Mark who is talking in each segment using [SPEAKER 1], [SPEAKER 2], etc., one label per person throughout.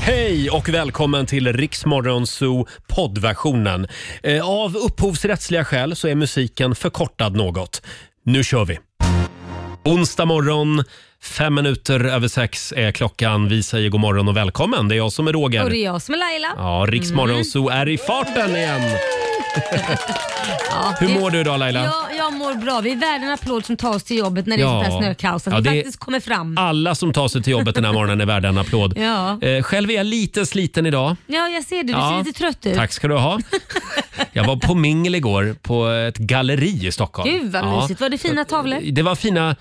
[SPEAKER 1] Hej och välkommen till Riksmorgon Zoo poddversionen. Eh, Av upphovsrättsliga skäl så är musiken förkortad något. Nu kör vi! Onsdag morgon, fem minuter över sex är klockan. Vi säger god morgon och välkommen. Det är jag som är
[SPEAKER 2] Och det
[SPEAKER 1] Roger.
[SPEAKER 2] är jag som är Laila. Mm.
[SPEAKER 1] Ja, Riksmorgon Zoo är i farten igen!
[SPEAKER 2] Ja,
[SPEAKER 1] Hur
[SPEAKER 2] det-
[SPEAKER 1] mår du idag Laila?
[SPEAKER 2] Jag, jag mår bra. Vi är värda en applåd som tar oss till jobbet när det
[SPEAKER 1] Ja.
[SPEAKER 2] är sånt här snökaos. Att
[SPEAKER 1] Ja,
[SPEAKER 2] vi
[SPEAKER 1] det-
[SPEAKER 2] faktiskt kommer fram.
[SPEAKER 1] Alla som tar sig till jobbet den här morgonen är värda en applåd.
[SPEAKER 2] Ja.
[SPEAKER 1] Eh, Själv är jag lite sliten idag.
[SPEAKER 2] ja, jag ser det. Du
[SPEAKER 1] Ja.
[SPEAKER 2] ser lite trött ut.
[SPEAKER 1] Tack ska du ha. Jag var på mingel igår på ett galleri i Stockholm.
[SPEAKER 2] Gud vad
[SPEAKER 1] Ja.
[SPEAKER 2] mysigt. Var det fina tavlor?
[SPEAKER 1] Det var fina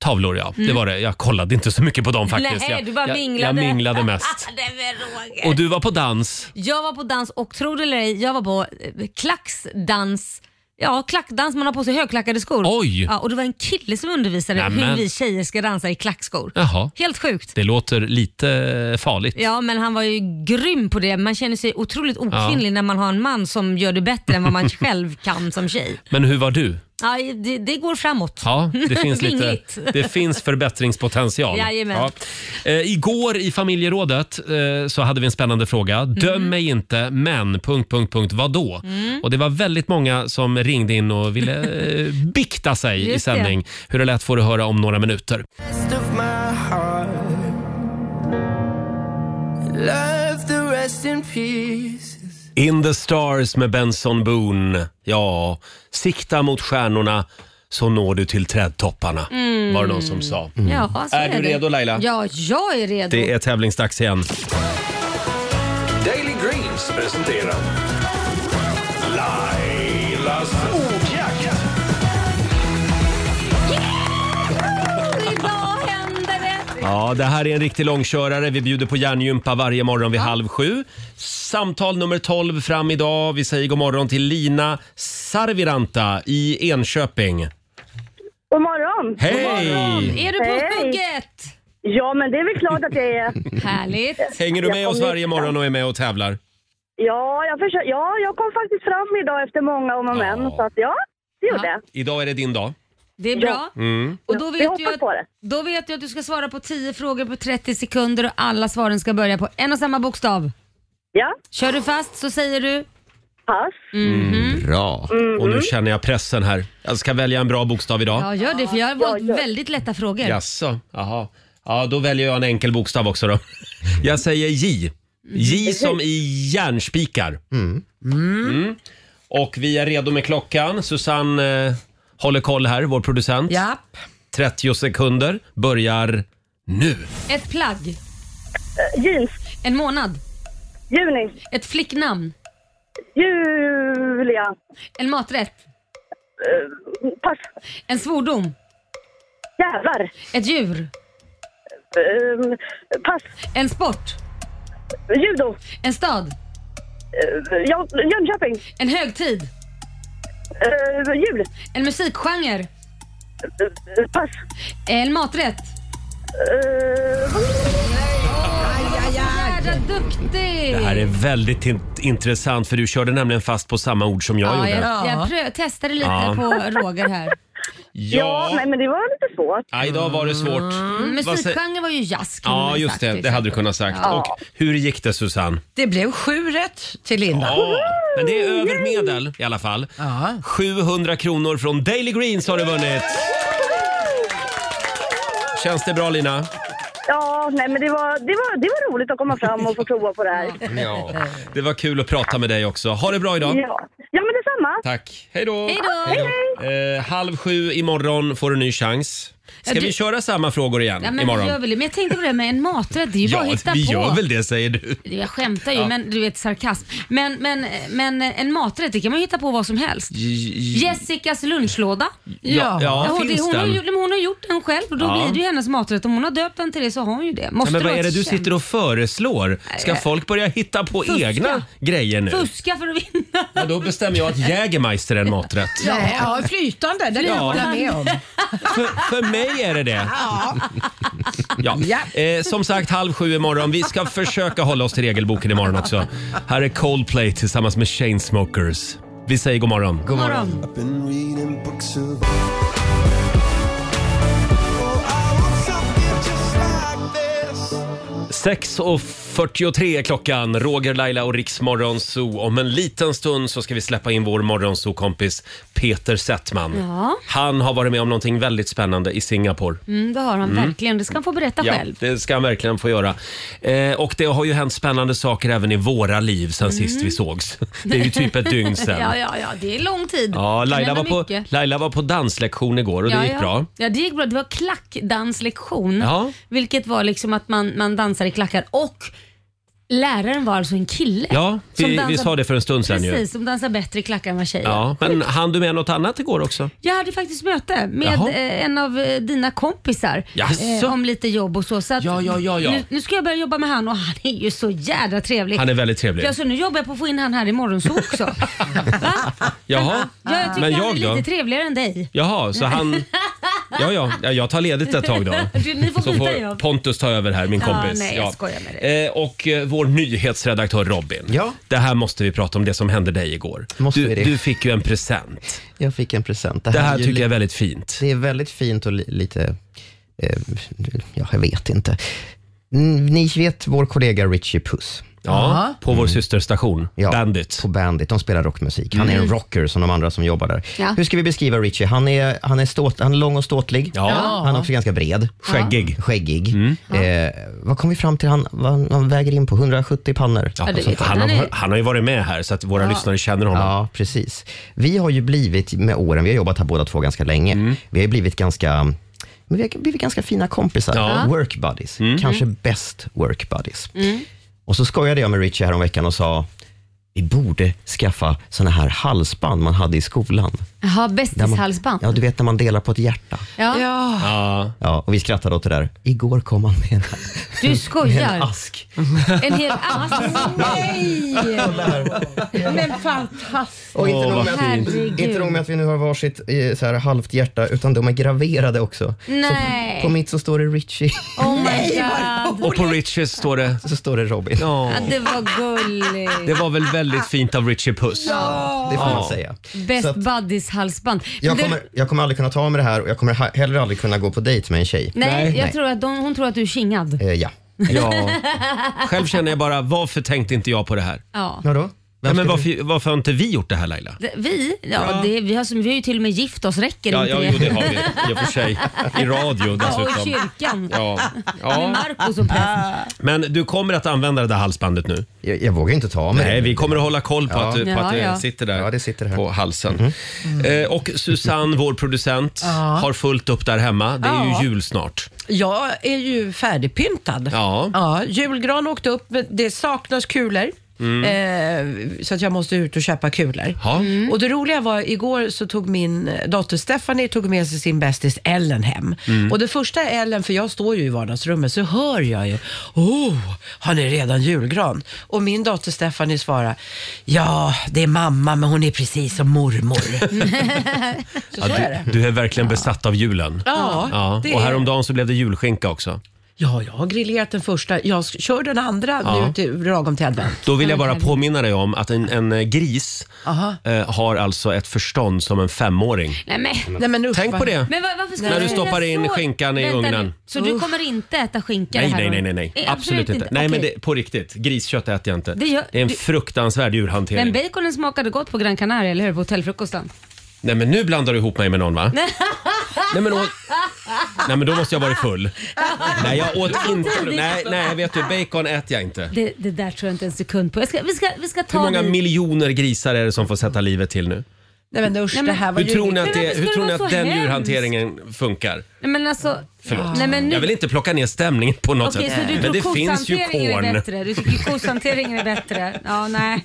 [SPEAKER 1] tavlor, ja. Det var det. Jag kollade inte så mycket på dem faktiskt.
[SPEAKER 2] Mm. Nej,
[SPEAKER 1] jag,
[SPEAKER 2] du bara
[SPEAKER 1] jag,
[SPEAKER 2] minglade.
[SPEAKER 1] Jag minglade mest.
[SPEAKER 2] Det är väl Roger.
[SPEAKER 1] Och du var på dans.
[SPEAKER 2] Jag var på dans och tro det eller ej, jag var på eh, klacksdans. Ja, klackdans. Man har på sig högklackade skor.
[SPEAKER 1] Oj.
[SPEAKER 2] Ja, och det var en kille som undervisade
[SPEAKER 1] Nämen.
[SPEAKER 2] hur vi tjejer ska dansa i klackskor.
[SPEAKER 1] Jaha,
[SPEAKER 2] Helt sjukt.
[SPEAKER 1] det låter lite farligt.
[SPEAKER 2] Ja, men han var ju grym på det. Man känner sig otroligt okvinnlig när man har en man som gör det bättre än vad man själv kan som tjej.
[SPEAKER 1] Men hur var du?
[SPEAKER 2] Ja, det, det går framåt.
[SPEAKER 1] Ja, det finns, lite,
[SPEAKER 2] Vingligt.
[SPEAKER 1] det finns förbättringspotential.
[SPEAKER 2] Jajamän.
[SPEAKER 1] Eh, igår i familjerådet eh, så hade vi en spännande fråga.
[SPEAKER 2] Mm.
[SPEAKER 1] Döm mig inte, men... Punkt, punkt, punkt, vadå?
[SPEAKER 2] Mm.
[SPEAKER 1] Och det var väldigt många som ringde in och ville eh, bikta sig i
[SPEAKER 2] Just det.
[SPEAKER 1] sändning. Hur det lät får du höra om några minuter.
[SPEAKER 3] rest of my heart. Love the rest in peace.
[SPEAKER 1] In the stars med Benson Boone. Ja, sikta mot stjärnorna så når du till trädtopparna, var det någon som sa.
[SPEAKER 2] Mm.
[SPEAKER 1] Mm.
[SPEAKER 2] Ja, så
[SPEAKER 1] Är du
[SPEAKER 2] det.
[SPEAKER 1] redo, Laila?
[SPEAKER 2] Ja, jag är redo.
[SPEAKER 1] Det är tävlingsdags igen.
[SPEAKER 4] Daily Greens presenterar Lailas ordjakt.
[SPEAKER 2] Idag händer det!
[SPEAKER 1] Ja, det här är en riktig långkörare. Vi bjuder på hjärngympa varje morgon vid halv sju. Samtal nummer 12 fram idag. Vi säger god morgon till Lina Sarviranta i Enköping.
[SPEAKER 5] God morgon!
[SPEAKER 1] Hej!
[SPEAKER 2] Är du på
[SPEAKER 5] Hej.
[SPEAKER 2] hugget?
[SPEAKER 5] Ja, men det är väl klart att jag är.
[SPEAKER 2] Härligt.
[SPEAKER 1] Hänger du med
[SPEAKER 5] Jag
[SPEAKER 1] oss
[SPEAKER 5] kom
[SPEAKER 1] varje
[SPEAKER 5] hit.
[SPEAKER 1] morgon och är med och tävlar?
[SPEAKER 5] Ja, jag, försöker, ja, jag kom faktiskt fram idag efter många om och men.
[SPEAKER 1] Ja.
[SPEAKER 5] Så att ja, det gjorde
[SPEAKER 2] Ja.
[SPEAKER 5] jag.
[SPEAKER 1] Idag är det din dag. Mm.
[SPEAKER 2] Det är bra. Och då
[SPEAKER 5] Ja, vi
[SPEAKER 2] vet,
[SPEAKER 5] hoppas
[SPEAKER 2] du att,
[SPEAKER 5] på det.
[SPEAKER 2] då vet du att du ska svara på 10 frågor på 30 sekunder och alla svaren ska börja på en och samma bokstav.
[SPEAKER 5] Ja,
[SPEAKER 2] Kör du fast så säger du Mm.
[SPEAKER 5] pass.
[SPEAKER 1] Mm.
[SPEAKER 2] Mm-hmm.
[SPEAKER 1] Bra. Och nu känner jag pressen här. Jag ska välja en bra bokstav idag.
[SPEAKER 2] ja, gör det för jag har valt
[SPEAKER 5] gör.
[SPEAKER 2] väldigt lätta frågor.
[SPEAKER 1] Jaså, jaha. Ja, då väljer jag en enkel bokstav också då. Jag säger J.
[SPEAKER 2] Mm.
[SPEAKER 1] J som i järnspikar. Mm. Och vi är redo med klockan. Susanne eh, håller koll här, vår producent.
[SPEAKER 2] Ja.
[SPEAKER 1] 30 sekunder börjar nu.
[SPEAKER 2] Ett plagg.
[SPEAKER 5] Eh, Jeans.
[SPEAKER 2] En månad.
[SPEAKER 5] Juni.
[SPEAKER 2] Ett flicknamn.
[SPEAKER 5] Julia.
[SPEAKER 2] En maträtt.
[SPEAKER 5] Eh, Pass.
[SPEAKER 2] En svordom.
[SPEAKER 5] Jävlar.
[SPEAKER 2] Ett djur.
[SPEAKER 5] Ehm, pass.
[SPEAKER 2] En sport.
[SPEAKER 5] Judo.
[SPEAKER 2] En stad.
[SPEAKER 5] Uh, Jönköping.
[SPEAKER 2] En högtid.
[SPEAKER 5] Uh, jul.
[SPEAKER 2] En musikgenre.
[SPEAKER 5] Eh, pass.
[SPEAKER 2] En maträtt.
[SPEAKER 5] Eh,
[SPEAKER 2] Jädra duktig!
[SPEAKER 1] Det här är väldigt in- intressant för du körde nämligen fast på samma ord som jag
[SPEAKER 2] Ja,
[SPEAKER 1] gjorde.
[SPEAKER 2] jag, jag prö- testade lite
[SPEAKER 1] Ja.
[SPEAKER 2] på Roger här.
[SPEAKER 5] ja, nej, men det var lite svårt.
[SPEAKER 1] Ja, idag var det svårt. Mm. Vad sä-
[SPEAKER 2] Musikgenren Mm, var ju jazz kan man
[SPEAKER 1] Ja,
[SPEAKER 2] väl
[SPEAKER 1] just
[SPEAKER 2] sagt,
[SPEAKER 1] det.
[SPEAKER 2] till
[SPEAKER 1] Det hade du
[SPEAKER 2] exempel.
[SPEAKER 1] kunnat sagt.
[SPEAKER 2] Ja.
[SPEAKER 1] Och hur gick det Susanne?
[SPEAKER 6] Det blev sju rätt till Linda.
[SPEAKER 1] Ja, men det är över medel i alla fall.
[SPEAKER 6] Ja.
[SPEAKER 1] 700 kronor från Daily Greens har du vunnit. Känns det bra Lina?
[SPEAKER 5] Ja, nej, men det var, det, var, det var roligt att komma fram och få prova på det här.
[SPEAKER 1] Ja. Det var kul att prata med dig också. Ha det bra idag.
[SPEAKER 5] Ja, ja men detsamma.
[SPEAKER 1] Tack. Hej då.
[SPEAKER 2] Hej då.
[SPEAKER 1] Eh, halv sju imorgon får du en ny chans. Ska
[SPEAKER 2] Ja, du-
[SPEAKER 1] vi köra samma frågor igen
[SPEAKER 2] Ja, men, vi gör
[SPEAKER 1] Mm, imorgon?
[SPEAKER 2] väl det. men jag tänkte på det med en maträtt, det är ju bara att hitta
[SPEAKER 1] vi
[SPEAKER 2] på.
[SPEAKER 1] gör väl det säger du.
[SPEAKER 2] Jag skämtar ju, men du vet sarkasm. Men, men, men en maträtt, det kan man ju hitta på vad som helst. Jessicas lunchlåda.
[SPEAKER 1] Ja, ja,
[SPEAKER 2] hon, det,
[SPEAKER 1] finns
[SPEAKER 2] hon, har,
[SPEAKER 1] den?
[SPEAKER 2] ju- men hon har gjort den själv och då
[SPEAKER 1] Ja.
[SPEAKER 2] blir det ju hennes maträtt. Om hon har döpt den till det så har hon ju det. Måste
[SPEAKER 1] Nej, men vad
[SPEAKER 2] vara
[SPEAKER 1] är det
[SPEAKER 2] ett
[SPEAKER 1] du
[SPEAKER 2] känd-
[SPEAKER 1] sitter och föreslår? Ska folk börja hitta på
[SPEAKER 2] Fuska.
[SPEAKER 1] egna grejer nu?
[SPEAKER 2] Fuska för att vinna.
[SPEAKER 1] Ja, då bestämmer jag att Jägermeister är en maträtt.
[SPEAKER 6] Nej, ja, flytande, det kan jag
[SPEAKER 1] Ja.
[SPEAKER 6] hålla med om.
[SPEAKER 1] För, för mig är det det. Ja. Eh, som sagt, halv sju imorgon. Vi ska försöka hålla oss till regelboken imorgon också. Här är Coldplay tillsammans med Chainsmokers. Vi säger god morgon.
[SPEAKER 2] God morgon.
[SPEAKER 7] Been reading books of
[SPEAKER 3] Oh, I want something just like this.
[SPEAKER 1] 6 och 43 är klockan, Roger, Laila och Riks Morgonzoo. Om en liten stund så ska vi släppa in vår Morgonzoo-kompis Peter Settman.
[SPEAKER 2] Ja.
[SPEAKER 1] Han har varit med om någonting väldigt spännande i Singapore.
[SPEAKER 2] Mm, det har han verkligen. Det ska han få berätta själv.
[SPEAKER 1] det ska han verkligen få göra. Eh, och det har ju hänt spännande saker även i våra liv sen sist vi sågs. Det är ju typ ett dygn sen.
[SPEAKER 2] Mm. ja, ja, ja, det är lång tid.
[SPEAKER 1] Ja,
[SPEAKER 2] Det
[SPEAKER 1] Laila var,
[SPEAKER 2] händer
[SPEAKER 1] på,
[SPEAKER 2] mycket.
[SPEAKER 1] Laila var på danslektion igår och det
[SPEAKER 2] ja,
[SPEAKER 1] gick
[SPEAKER 2] ja.
[SPEAKER 1] bra.
[SPEAKER 2] Ja, det gick bra. Det var klackdanslektion.
[SPEAKER 1] Ja.
[SPEAKER 2] Vilket var liksom att man, man dansar i klackar och läraren var alltså en kille.
[SPEAKER 1] Ja,
[SPEAKER 2] som
[SPEAKER 1] vi,
[SPEAKER 2] dansar-
[SPEAKER 1] vi sa det för en stund sen ju.
[SPEAKER 2] Precis, som dansar bättre i klackar än vad tjejer.
[SPEAKER 1] Ja, men hann du med något annat igår också?
[SPEAKER 2] Jag hade faktiskt möte med
[SPEAKER 1] Jaha.
[SPEAKER 2] eh, en av eh, dina kompisar eh,
[SPEAKER 1] Jaså?
[SPEAKER 2] om lite jobb och så. så att
[SPEAKER 1] Ja, ja, ja, ja.
[SPEAKER 2] Nu, nu ska jag börja jobba med han och han är ju så jädra trevlig.
[SPEAKER 1] Han är väldigt trevlig.
[SPEAKER 2] Ja, så nu jobbar jag på att få in han här i morgonsol också. Va?
[SPEAKER 1] Jaha,
[SPEAKER 2] Ja, jag tycker
[SPEAKER 1] men
[SPEAKER 2] han
[SPEAKER 1] jag
[SPEAKER 2] är
[SPEAKER 1] då?
[SPEAKER 2] lite trevligare än dig.
[SPEAKER 1] Jaha, så han... Ja, ja, ja, jag tar ledigt ett tag då.
[SPEAKER 2] Du, ni får
[SPEAKER 1] Så
[SPEAKER 2] byta
[SPEAKER 1] får
[SPEAKER 2] jobb.
[SPEAKER 1] Pontus ta över här, min
[SPEAKER 2] Ja,
[SPEAKER 1] kompis.
[SPEAKER 2] nej, jag skojar med
[SPEAKER 1] dig. Eh, och eh, vår nyhetsredaktör Robin.
[SPEAKER 8] Ja.
[SPEAKER 1] Det här måste vi prata om, det som hände dig igår.
[SPEAKER 8] Måste
[SPEAKER 1] du,
[SPEAKER 8] vi det?
[SPEAKER 1] du fick ju en present.
[SPEAKER 8] Jag fick en present.
[SPEAKER 1] Det här
[SPEAKER 8] är ju
[SPEAKER 1] tycker jag är
[SPEAKER 8] li-
[SPEAKER 1] väldigt fint.
[SPEAKER 8] Det är väldigt fint och li- lite, eh, ja, jag vet inte. Mm, Ni vet vår kollega Richie Puss Mm.
[SPEAKER 1] Ja, på vår systerstation,
[SPEAKER 8] Ja.
[SPEAKER 1] Bandit.
[SPEAKER 8] på Bandit, de spelar rockmusik. Han är en rocker som de andra som jobbar där.
[SPEAKER 2] Ja.
[SPEAKER 8] Hur ska vi beskriva Richie? Han är, han är, ståt, han är lång och ståtlig.
[SPEAKER 1] Ja.
[SPEAKER 8] Han är också ganska bred.
[SPEAKER 1] Skäggig. Mm.
[SPEAKER 8] Skäggig. Eh, vad kom vi fram till? Han, vad han- han väger in på 170 pannor.
[SPEAKER 1] Ja,
[SPEAKER 2] Ja, du vet,
[SPEAKER 1] han,
[SPEAKER 2] han
[SPEAKER 1] har,
[SPEAKER 2] är-
[SPEAKER 1] han har ju varit med här så att våra lyssnare känner honom.
[SPEAKER 8] Ja, precis. Vi har ju blivit med åren, vi har jobbat här båda två ganska länge,
[SPEAKER 1] Mm.
[SPEAKER 8] vi har ju blivit ganska men vi har blivit ganska fina kompisar.
[SPEAKER 1] Ja. Mm.
[SPEAKER 8] Work buddies. Kanske bäst work buddies.
[SPEAKER 6] Mm.
[SPEAKER 8] Och så skojade jag med Richie häromveckan och sa, vi borde skaffa såna här halsband man hade i skolan.
[SPEAKER 2] Jaha,
[SPEAKER 8] Där man-
[SPEAKER 2] bästishalsband.
[SPEAKER 8] Ja, du vet när man delar på ett hjärta.
[SPEAKER 2] Ja.
[SPEAKER 6] Ja.
[SPEAKER 1] Ja.
[SPEAKER 8] Ja, och vi skrattade åt det där. Igår kom han med en,
[SPEAKER 2] Du
[SPEAKER 8] en
[SPEAKER 1] Alltså,
[SPEAKER 2] skojar.
[SPEAKER 8] ask.
[SPEAKER 2] En hel ask.
[SPEAKER 6] Men fantastiskt.
[SPEAKER 8] Och inte, nog
[SPEAKER 1] Åh, vad
[SPEAKER 8] med att vi,
[SPEAKER 2] fint.
[SPEAKER 8] inte nog med att vi nu har varsitt eh, så här, halvt hjärta, utan de är graverade också.
[SPEAKER 2] Nej.
[SPEAKER 8] Så på mitt så står det Richie,
[SPEAKER 2] Oh my god.
[SPEAKER 1] Och på Riches står det...
[SPEAKER 8] så står det Robin.
[SPEAKER 1] Ja,
[SPEAKER 2] Ja, det var gulligt.
[SPEAKER 1] det var väl väldigt fint av Richie Puss.
[SPEAKER 8] Det får
[SPEAKER 1] Ja.
[SPEAKER 8] man säga. Så
[SPEAKER 2] Best
[SPEAKER 8] att
[SPEAKER 2] buddies-halsband. Men
[SPEAKER 8] jag,
[SPEAKER 2] du-
[SPEAKER 8] kommer, jag kommer aldrig kunna ta mig det här och jag kommer ha- heller aldrig kunna gå på dejt med en tjej.
[SPEAKER 2] Nej, jag
[SPEAKER 8] Nej.
[SPEAKER 2] tror att de, hon tror att du är kingad.
[SPEAKER 8] Eh, ja.
[SPEAKER 1] Ja. Själv känner jag bara, varför tänkte inte jag på det här?
[SPEAKER 2] Ja.
[SPEAKER 8] Vadå?
[SPEAKER 1] Ja,
[SPEAKER 8] Vem
[SPEAKER 1] men
[SPEAKER 8] ska
[SPEAKER 1] varför, varför har inte vi gjort det här Laila?
[SPEAKER 2] Det- Vi? Ja, Det, vi, har, som- vi har ju till och med gift oss, räcker
[SPEAKER 1] Ja,
[SPEAKER 2] inte
[SPEAKER 1] ja
[SPEAKER 2] det?
[SPEAKER 1] jo, det har vi i och för sig. I radio
[SPEAKER 2] Ja, och i
[SPEAKER 1] dessutom.
[SPEAKER 2] kyrkan.
[SPEAKER 1] Ja.
[SPEAKER 2] Med
[SPEAKER 1] Ja.
[SPEAKER 2] Marco som präst.
[SPEAKER 1] Men du kommer att använda det där halsbandet nu?
[SPEAKER 8] du- Jag, jag vågar inte ta mig
[SPEAKER 1] Nej,
[SPEAKER 8] det.
[SPEAKER 1] vi kommer att hålla koll på, att, du, på att det
[SPEAKER 2] Ja, ja.
[SPEAKER 1] sitter där
[SPEAKER 8] Ja, det sitter här. Mhm.
[SPEAKER 1] på halsen. Eh, och Susanne, vår producent, har fullt upp där hemma. Det är
[SPEAKER 6] Ja.
[SPEAKER 1] ju jul snart.
[SPEAKER 6] Jag är ju färdigpyntad.
[SPEAKER 1] Ja.
[SPEAKER 6] julgran åkte upp, men det saknas kulor. Eh, så att jag måste ut och köpa kulor.
[SPEAKER 1] Mm.
[SPEAKER 6] Mm.
[SPEAKER 1] Ja.
[SPEAKER 6] Och det roliga var igår så tog min dotter Stephanie tog med sig sin bästis Ellen hem.
[SPEAKER 1] Mm.
[SPEAKER 6] Och det första Ellen, för jag står ju i vardagsrummet, så hör jag ju, oh, har ni redan julgran? Och min dotter Stephanie svarar, ja det är mamma men hon är precis som mormor. så så är det.
[SPEAKER 1] du, du är verkligen besatt av julen.
[SPEAKER 6] Ja,
[SPEAKER 1] Ja.
[SPEAKER 6] det
[SPEAKER 1] Och
[SPEAKER 6] är-
[SPEAKER 1] häromdagen så blev det julskinka också.
[SPEAKER 6] Ja, jag har grillerat den första. Jag sk- kör den andra
[SPEAKER 1] Ja.
[SPEAKER 6] nu till, lagom till advent.
[SPEAKER 1] Då vill jag bara påminna dig om att en, en eh, gris
[SPEAKER 6] Aha.
[SPEAKER 1] eh, har alltså ett förstånd som en femåring.
[SPEAKER 2] Nej, men.
[SPEAKER 6] Nej, men usch,
[SPEAKER 1] Tänk
[SPEAKER 6] vad-
[SPEAKER 1] på det.
[SPEAKER 2] Men var, varför ska
[SPEAKER 1] När du
[SPEAKER 2] göra
[SPEAKER 1] stoppar in
[SPEAKER 2] så?
[SPEAKER 1] skinkan i
[SPEAKER 2] Vänta nu.
[SPEAKER 1] ugnen.
[SPEAKER 2] Så du kommer inte äta skinka
[SPEAKER 1] Nej,
[SPEAKER 2] det här
[SPEAKER 1] nej, nej, nej,
[SPEAKER 2] året?
[SPEAKER 1] nej.
[SPEAKER 2] Eh,
[SPEAKER 1] Absolut, inte. Nej, men
[SPEAKER 2] Okej.
[SPEAKER 1] det, på riktigt. Griskött äter jag inte.
[SPEAKER 2] Det gör-
[SPEAKER 1] är en
[SPEAKER 2] du-
[SPEAKER 1] fruktansvärd djurhantering.
[SPEAKER 2] Men baconen smakade gott på Gran Canaria, eller hur? På hotellfrukosten.
[SPEAKER 1] Nej, men nu blandar du ihop mig med någon, va? nej, men åt... nej, men då måste jag ha varit full. nej, jag åt inte... Nej, nej, vet du, bacon äter jag inte.
[SPEAKER 2] Det, det där tror jag inte en sekund på. Jag ska, vi, ska, vi ska ta
[SPEAKER 1] Hur många
[SPEAKER 2] dig-
[SPEAKER 1] miljoner grisar är det som får sätta livet till nu?
[SPEAKER 6] Nej, men usch,
[SPEAKER 2] Nej, men-
[SPEAKER 6] det här var
[SPEAKER 1] Hur
[SPEAKER 6] ju...
[SPEAKER 1] tror ni
[SPEAKER 2] Men
[SPEAKER 1] att,
[SPEAKER 2] varför
[SPEAKER 1] det, hur
[SPEAKER 2] ska det
[SPEAKER 1] tror ni
[SPEAKER 2] vara
[SPEAKER 1] att
[SPEAKER 2] så
[SPEAKER 1] den
[SPEAKER 2] hemskt?
[SPEAKER 1] djurhanteringen funkar?
[SPEAKER 2] Nej, men alltså...
[SPEAKER 1] Förlåt.
[SPEAKER 2] Nej, men nu...
[SPEAKER 1] Jag vill inte plocka ner stämningen på något
[SPEAKER 2] Okej, så
[SPEAKER 1] sätt.
[SPEAKER 2] du
[SPEAKER 1] Men
[SPEAKER 2] tror
[SPEAKER 1] det finns ju
[SPEAKER 2] kosthanteringen är
[SPEAKER 1] korn.
[SPEAKER 2] bättre? Du tycker kosthanteringen är bättre? Ja, nej.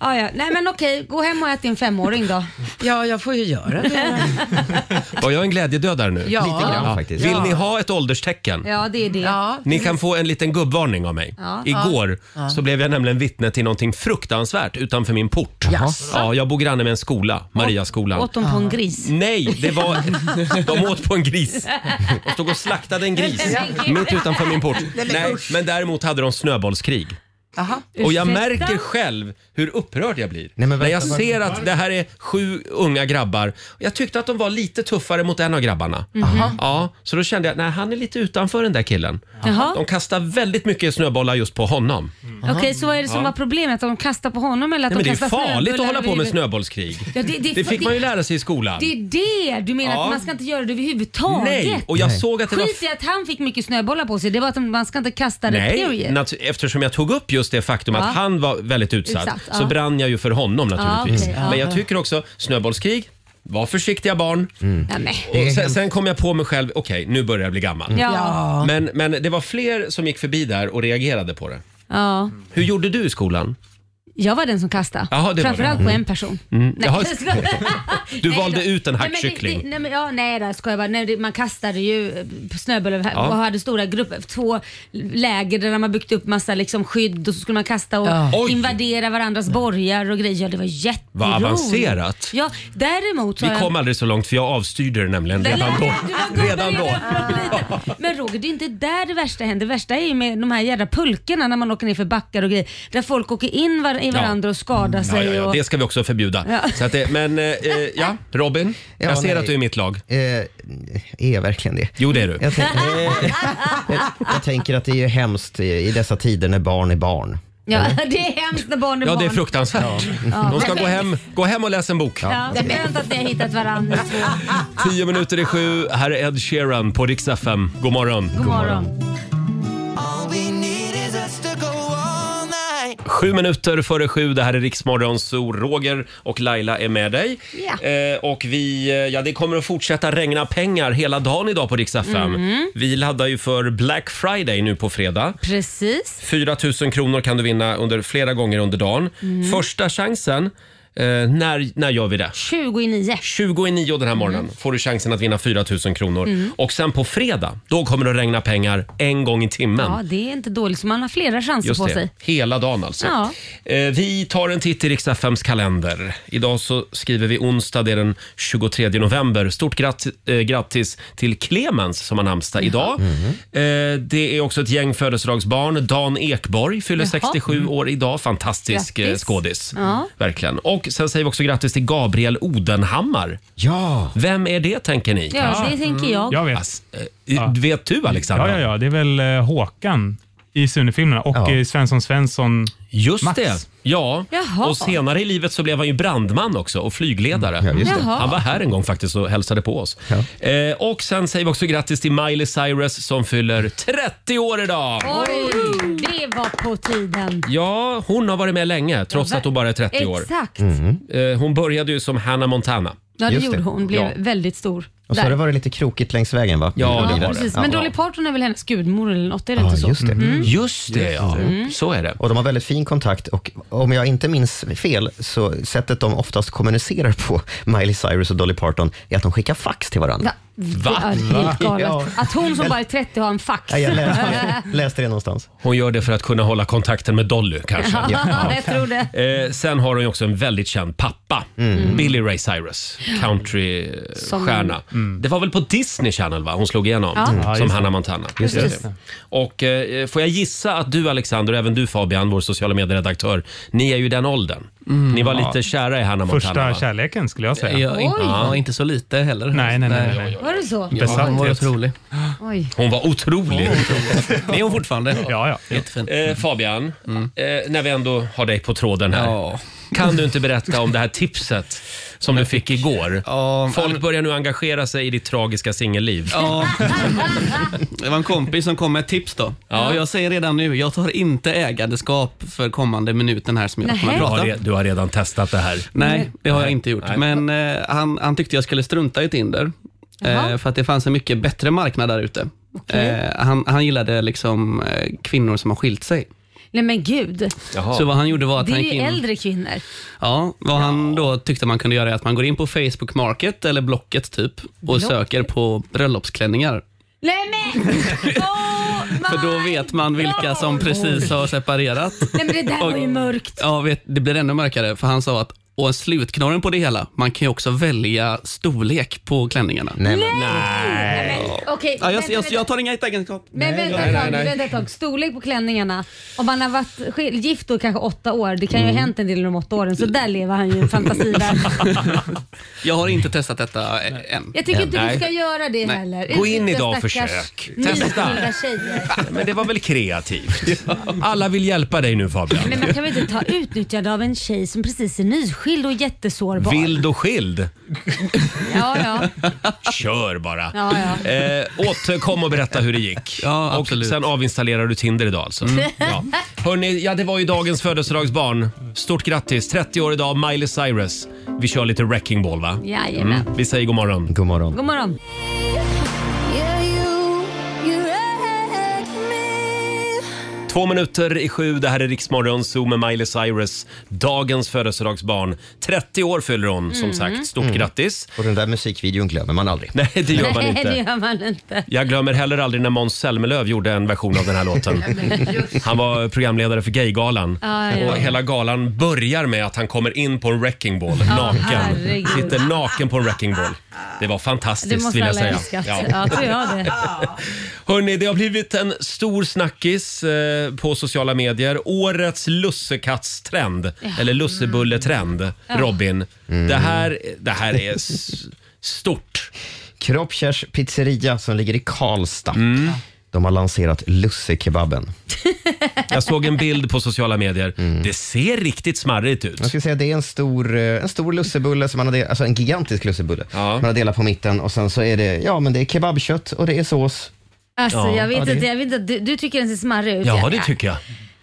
[SPEAKER 2] Ja, ja. Nej men okej, gå hem och ät din femåring då.
[SPEAKER 6] Ja, jag får ju göra det.
[SPEAKER 1] Var jag en glädjedödare nu?
[SPEAKER 6] Ja.
[SPEAKER 8] Lite grann faktiskt.
[SPEAKER 1] Vill
[SPEAKER 6] Ja.
[SPEAKER 1] ni ha ett ålderstecken?
[SPEAKER 2] Ja, det är det.
[SPEAKER 6] Ja.
[SPEAKER 1] Ni kan få en liten gubbvarning av mig.
[SPEAKER 2] Ja.
[SPEAKER 1] Igår så blev jag nämligen vittne till någonting fruktansvärt utanför min port. Ja, jag bor granne med en skola, Mariaskolan.
[SPEAKER 2] Åt de på en gris?
[SPEAKER 1] Nej, det var... De åt på en gris. De stod och slaktade en gris
[SPEAKER 2] Men gud.
[SPEAKER 1] mitt utanför min port. Nej, men däremot hade de snöbollskrig.
[SPEAKER 6] Aha.
[SPEAKER 1] Och jag
[SPEAKER 2] Ursäkta?
[SPEAKER 1] märker själv hur upprörd jag blir.
[SPEAKER 8] Nej, men
[SPEAKER 1] När
[SPEAKER 8] vänta,
[SPEAKER 1] jag
[SPEAKER 8] varför-
[SPEAKER 1] ser att det här är sju unga grabbar. Jag tyckte att de var lite tuffare mot en av grabbarna.
[SPEAKER 2] Mhm.
[SPEAKER 1] Ja, så då kände jag, nej han är lite utanför den där killen.
[SPEAKER 2] Jaha.
[SPEAKER 1] De kastar väldigt mycket snöbollar just på honom.
[SPEAKER 2] Okej, så vad är det som var problemet? Att de kastar på honom eller att
[SPEAKER 1] Nej, men
[SPEAKER 2] de
[SPEAKER 1] det är
[SPEAKER 2] kastar
[SPEAKER 1] farligt att
[SPEAKER 2] snöbullar
[SPEAKER 1] hålla på med
[SPEAKER 2] bredvid?
[SPEAKER 1] snöbollskrig.
[SPEAKER 2] Ja, det, det,
[SPEAKER 1] Det fick man ju lära sig i skolan.
[SPEAKER 2] Det är det du menar,
[SPEAKER 1] Ja.
[SPEAKER 2] att man ska inte göra det överhuvudtaget.
[SPEAKER 1] Nej, och jag
[SPEAKER 8] Nej.
[SPEAKER 1] såg att det var
[SPEAKER 2] Skit i att han fick mycket snöbollar på sig, det var att man ska inte kasta det
[SPEAKER 1] Nej,
[SPEAKER 2] period.
[SPEAKER 1] natu- eftersom jag tog upp just det faktum
[SPEAKER 2] Ja.
[SPEAKER 1] att han var väldigt utsatt,
[SPEAKER 2] Utsatt, ja.
[SPEAKER 1] så brann jag ju för honom naturligtvis.
[SPEAKER 2] Ja, okej, ja.
[SPEAKER 1] Men jag tycker också, snöbollskrig, var försiktiga barn.
[SPEAKER 2] Ja, nej.
[SPEAKER 1] Och sen, sen kom jag på mig själv, okej nu börjar jag bli gammal.
[SPEAKER 2] Ja. Ja.
[SPEAKER 6] Ja.
[SPEAKER 1] Men, men det var fler som gick förbi där och reagerade på det. Hur gjorde du i skolan?
[SPEAKER 2] Jag var den som kastade.
[SPEAKER 1] Jaha, det var det.
[SPEAKER 2] Framförallt på en person. Nej,
[SPEAKER 1] Mm. Jaha.
[SPEAKER 2] jag skojar.
[SPEAKER 1] Du
[SPEAKER 2] Nej,
[SPEAKER 1] valde
[SPEAKER 2] då-
[SPEAKER 1] ut en
[SPEAKER 2] Nej, men det-
[SPEAKER 1] hackkyckling.
[SPEAKER 2] det- Nej, men, ja, nej där ska jag bara. Nej, det, man kastade ju eh, snöbollar här
[SPEAKER 1] Ja.
[SPEAKER 2] och hade stora grupper. Två läger där man har byggt upp massa liksom, skydd och så skulle man kasta och
[SPEAKER 6] Ja.
[SPEAKER 1] Oj.
[SPEAKER 2] invadera varandras borgar och grejer. Ja, Det var jätteroligt.
[SPEAKER 1] Vad avancerat.
[SPEAKER 2] Ja, däremot så
[SPEAKER 1] Vi
[SPEAKER 2] har jag-
[SPEAKER 1] kom aldrig så långt för jag avstyrde det nämligen
[SPEAKER 2] Där-
[SPEAKER 1] redan då.
[SPEAKER 2] Du var gubben
[SPEAKER 1] Redan då.
[SPEAKER 2] redan från liten. Men Roger, det är inte där det värsta händer. Det värsta är ju med de här jävla pulkorna när man åker ner för backar och grejer. Där folk åker in var- i varandra och skadar
[SPEAKER 1] Ja,
[SPEAKER 2] sig.
[SPEAKER 1] ja, ja,
[SPEAKER 2] och...
[SPEAKER 1] det ska vi också förbjuda.
[SPEAKER 2] Ja.
[SPEAKER 1] Så att det, men eh, eh, ja, Robin,
[SPEAKER 8] Ja,
[SPEAKER 1] jag ser
[SPEAKER 8] nej.
[SPEAKER 1] att du är i mitt lag.
[SPEAKER 8] Eh, är jag verkligen det?
[SPEAKER 1] Jo, det är du.
[SPEAKER 8] Jag, tänk, jag, jag tänker att det är ju hemskt i, i dessa tider när barn är barn.
[SPEAKER 2] Ja, det är hemskt när barn är
[SPEAKER 1] Ja,
[SPEAKER 2] barn.
[SPEAKER 1] det är fruktansvärt. De ska gå hem, gå hem och läsa en bok.
[SPEAKER 2] Ja, skönt att ni har hittat varandra. ni två.
[SPEAKER 1] Tio minuter i sju. Här är Ed Sheeran på Rix FM. God morgon.
[SPEAKER 2] God morgon.
[SPEAKER 7] All we need is us to go all night.
[SPEAKER 1] Sju minuter före sju. Det här är Riksmorgon, så Roger och Laila är med dig.
[SPEAKER 2] Ja.
[SPEAKER 1] Eh, och vi, eh, ja, det kommer att fortsätta regna pengar hela dagen idag på Rix FM.
[SPEAKER 2] Mhm.
[SPEAKER 1] Vi laddar ju för Black Friday nu på fredag.
[SPEAKER 2] Precis.
[SPEAKER 1] 4 000 kronor kan du vinna under flera gånger under dagen.
[SPEAKER 2] Mm.
[SPEAKER 1] Första chansen, eh, när, när gör vi det?
[SPEAKER 2] 20 i 9.
[SPEAKER 1] 20 i nio den här morgonen
[SPEAKER 2] Mm.
[SPEAKER 1] får du chansen att vinna 4 000 kronor. Och sen på fredag, då kommer det att regna pengar en gång i timmen.
[SPEAKER 2] Ja, det är inte dåligt. Så man har flera chanser
[SPEAKER 1] Just
[SPEAKER 2] på
[SPEAKER 1] det,
[SPEAKER 2] sig.
[SPEAKER 1] hela dagen alltså.
[SPEAKER 2] Ja.
[SPEAKER 1] Eh, vi tar en titt i Riks-FMs kalender. Idag så skriver vi onsdag, det är den 23 november. Stort gratt, eh, grattis till Clemens som har namnsdag idag.
[SPEAKER 2] Mm.
[SPEAKER 1] Eh, det är också ett gäng födelsedagsbarn. Dan Ekborg fyller
[SPEAKER 2] Jaha. Mm.
[SPEAKER 1] 67 år idag. Fantastisk eh,
[SPEAKER 2] Grattis.
[SPEAKER 1] skådis.
[SPEAKER 2] Ja.
[SPEAKER 1] Verkligen. Och sen säger vi också grattis till Gabriel Odenhammar.
[SPEAKER 8] Ja!
[SPEAKER 1] Vem är det tänker ni?
[SPEAKER 2] Ja, det tänker jag.
[SPEAKER 9] Jag vet.
[SPEAKER 1] Ass- eh, Vet du Alexander?
[SPEAKER 9] Ja, ja, ja. Det är väl eh, Håkan i Sune-filmerna och
[SPEAKER 8] Ja.
[SPEAKER 9] eh, Svensson Svensson.
[SPEAKER 1] Just
[SPEAKER 9] Max.
[SPEAKER 1] det. Ja.
[SPEAKER 2] Jaha.
[SPEAKER 1] Och senare i livet så blev han ju brandman också och flygledare.
[SPEAKER 8] just
[SPEAKER 2] det. Jaha.
[SPEAKER 1] Han var här en gång faktiskt och hälsade på oss. Eh, och sen säger vi också grattis till Miley Cyrus som fyller 30 år idag.
[SPEAKER 2] Oj, det var på tiden.
[SPEAKER 1] Ja, hon har varit med länge trots att hon bara är 30 år.
[SPEAKER 2] Exakt.
[SPEAKER 1] Eh, hon började ju som Hannah Montana.
[SPEAKER 2] Ja, det
[SPEAKER 8] Mm. Just
[SPEAKER 2] gjorde
[SPEAKER 8] det.
[SPEAKER 2] hon. Blev
[SPEAKER 1] Ja.
[SPEAKER 2] väldigt stor.
[SPEAKER 8] Och så
[SPEAKER 2] Där.
[SPEAKER 8] har det varit lite krokigt längs vägen va?
[SPEAKER 1] Ja,
[SPEAKER 2] Ja,
[SPEAKER 1] det var
[SPEAKER 2] precis.
[SPEAKER 1] det.
[SPEAKER 2] Men
[SPEAKER 1] Ja.
[SPEAKER 2] Dolly Parton är väl hennes gudmor eller något? Är det inte
[SPEAKER 8] Ja,
[SPEAKER 2] så? Mm.
[SPEAKER 8] just det.
[SPEAKER 1] Just det, ja. Så är det.
[SPEAKER 8] Och de har väldigt fin kontakt och om jag inte minns fel så sättet de oftast kommunicerar på, Miley Cyrus och Dolly Parton, är att de skickar fax till varandra.
[SPEAKER 2] Va?
[SPEAKER 1] Va?
[SPEAKER 2] Det är helt galet.
[SPEAKER 8] Ja.
[SPEAKER 2] Att hon som bara är 30 har en fax.
[SPEAKER 8] Ja, jag läste, läste det någonstans.
[SPEAKER 1] Hon gör det för att kunna hålla kontakten med Dolly kanske.
[SPEAKER 2] Ja, jag tror det.
[SPEAKER 1] Eh, sen har hon ju också en väldigt känd pappa,
[SPEAKER 9] Mm.
[SPEAKER 1] Billy Ray Cyrus, countrystjärna. Det var väl på Disney Channel va? hon slog igenom
[SPEAKER 2] Ja.
[SPEAKER 9] Mm. Ja,
[SPEAKER 1] som
[SPEAKER 9] just det.
[SPEAKER 1] Hannah Montana.
[SPEAKER 2] Precis.
[SPEAKER 1] Och eh, får jag gissa att du Alexander och även du Fabian, vår sociala medieredaktör, ni är ju i den åldern. ni var lite kära i Hannah Montana.
[SPEAKER 9] Mm. Första
[SPEAKER 1] va?
[SPEAKER 9] kärleken skulle jag säga.
[SPEAKER 10] Ja, inte, ja, inte så lite heller.
[SPEAKER 9] Nej, nej, nej. nej.
[SPEAKER 2] Var det så?
[SPEAKER 10] Ja, hon var
[SPEAKER 9] Besatthet.
[SPEAKER 10] otrolig.
[SPEAKER 2] Oj.
[SPEAKER 1] Hon var otrolig.
[SPEAKER 10] Det är hon fortfarande.
[SPEAKER 9] Ja, ja.
[SPEAKER 10] Jättefin.
[SPEAKER 1] Eh, Fabian, eh, när vi ändå har dig på tråden här.
[SPEAKER 10] Ja.
[SPEAKER 1] Kan du inte berätta om det här tipset som du fick igår?
[SPEAKER 10] Ja,
[SPEAKER 1] Folk börjar nu engagera sig i ditt tragiska singelliv.
[SPEAKER 10] Ja. Det var en kompis som kom med ett tips då.
[SPEAKER 1] Ja.
[SPEAKER 10] Och jag säger redan nu, jag tar inte ägandeskap för kommande minuten här som jag kommer
[SPEAKER 2] Nähä.
[SPEAKER 10] att
[SPEAKER 1] Du har,
[SPEAKER 10] prata.
[SPEAKER 1] re- du har redan testat det här.
[SPEAKER 10] Nej, det har jag inte gjort.
[SPEAKER 1] Nej.
[SPEAKER 10] Men eh, han, han tyckte jag skulle strunta i Tinder. Eh,
[SPEAKER 2] Jaha.
[SPEAKER 10] för att det fanns en mycket bättre marknad där ute.
[SPEAKER 2] Okej.
[SPEAKER 10] Eh, han, han gillade liksom eh, kvinnor som har skilt sig.
[SPEAKER 2] Nej men gud.
[SPEAKER 10] Så vad han gjorde var att
[SPEAKER 2] Det
[SPEAKER 10] han
[SPEAKER 2] är
[SPEAKER 10] gick
[SPEAKER 2] ju
[SPEAKER 10] in...
[SPEAKER 2] äldre kvinnor.
[SPEAKER 10] Ja, vad han då tyckte man kunde göra är att man går in på Facebook Market eller Blocket typ och
[SPEAKER 2] Blocket.
[SPEAKER 10] söker på bröllopsklänningar.
[SPEAKER 2] Nej men! Oh
[SPEAKER 10] För då
[SPEAKER 2] my
[SPEAKER 10] vet man vilka som
[SPEAKER 2] God.
[SPEAKER 10] precis har separerat.
[SPEAKER 2] Nej men det där var ju mörkt.
[SPEAKER 10] Ja, vet, det blir ännu mörkare för han sa att Och slutknorren på det hela, man kan ju också välja storlek på klänningarna.
[SPEAKER 8] Nej!
[SPEAKER 2] men- Okej,
[SPEAKER 10] Ja, jag,
[SPEAKER 2] vänta,
[SPEAKER 10] jag,
[SPEAKER 2] vänta.
[SPEAKER 10] jag tar inga egenskap.
[SPEAKER 2] Men vänta ett tag, vänta ett tag. Storlek på klänningarna. Om man har varit skil- gift då kanske åtta år, det kan
[SPEAKER 1] Mm.
[SPEAKER 2] ju ha hänt en del under de åtta åren, så där lever han ju i en fantasivärld.
[SPEAKER 10] Jag har inte testat detta ä- än.
[SPEAKER 2] Jag tycker inte du
[SPEAKER 1] Nej.
[SPEAKER 2] ska göra det
[SPEAKER 10] Nej.
[SPEAKER 2] heller.
[SPEAKER 1] Gå in
[SPEAKER 2] Ursäkta,
[SPEAKER 1] idag och
[SPEAKER 2] stackars
[SPEAKER 1] försök.
[SPEAKER 2] nyskilda
[SPEAKER 1] Testa.
[SPEAKER 2] tjejer.
[SPEAKER 1] Men det var väl kreativt? Alla vill hjälpa dig nu Fabian.
[SPEAKER 2] Men man kan väl inte ta utnyttjande av en tjej som precis är nyskild och jättesårbar?
[SPEAKER 1] Vild och skild.
[SPEAKER 2] Ja, ja.
[SPEAKER 1] Kör bara.
[SPEAKER 2] ja, ja.
[SPEAKER 1] Eh, återkom och berätta hur det gick.
[SPEAKER 10] Ja,
[SPEAKER 1] och
[SPEAKER 10] absolut.
[SPEAKER 1] sen avinstallerar du Tinder idag alltså.
[SPEAKER 8] Mm.
[SPEAKER 1] Ja. Hörrni, ja det var ju dagens födelsedagsbarn. Stort grattis, 30 år idag, Miley Cyrus. Vi kör lite wrecking ball va? Mm.
[SPEAKER 2] Jajamän.
[SPEAKER 1] Vi säger god morgon.
[SPEAKER 8] God morgon.
[SPEAKER 2] God morgon.
[SPEAKER 1] Två minuter i sju, det här är Riksmorgon Zoo med Miley Cyrus. Dagens födelsedagsbarn. 30 år fyller hon som
[SPEAKER 2] Mm.
[SPEAKER 1] sagt. Stort grattis.
[SPEAKER 8] Mm. Och den där musikvideon glömmer man aldrig.
[SPEAKER 1] Nej, det gör man
[SPEAKER 2] Nej, det
[SPEAKER 1] inte.
[SPEAKER 2] gör man inte.
[SPEAKER 1] Jag glömmer heller aldrig när Måns Zelmerlöw gjorde en version av den här låten. Han var programledare för Gaygalan.
[SPEAKER 2] Ja, Ah, ja.
[SPEAKER 1] Och hela galan börjar med att han kommer in på en wrecking ball, naken.
[SPEAKER 2] herregud.
[SPEAKER 1] Sitter naken på en wrecking ball. Det var
[SPEAKER 2] Det
[SPEAKER 1] fantastiskt
[SPEAKER 2] måste
[SPEAKER 1] vill jag
[SPEAKER 2] alla
[SPEAKER 1] säga.
[SPEAKER 2] älskat.
[SPEAKER 1] Ja.
[SPEAKER 2] Ja, tror jag det.
[SPEAKER 1] Hörrni, det har blivit en stor snackis eh, på sociala medier. Årets lussekattstrend, eller lussebulletrend, Robin. Det, här,
[SPEAKER 8] Mm.
[SPEAKER 1] det här är s- stort.
[SPEAKER 8] Kroppkärs pizzeria som ligger i Karlstad.
[SPEAKER 1] Mm.
[SPEAKER 8] De har lanserat lussekebaben.
[SPEAKER 1] Jag såg en bild på sociala medier. Det ser riktigt smarrigt ut.
[SPEAKER 8] Jag skulle säga det är en stor, eh, en stor lussebulle, som man har del- alltså en gigantisk lussebulle.
[SPEAKER 1] Ja.
[SPEAKER 8] Man har delat på mitten och sen så är det, ja, men det är kebabkött och det är sås.
[SPEAKER 2] Alltså,
[SPEAKER 1] Ja,
[SPEAKER 2] jag vet
[SPEAKER 1] ja, det-
[SPEAKER 2] inte. Jag vet inte. Du, du tycker den ser smarrig ut.
[SPEAKER 1] Ja, det tycker jag.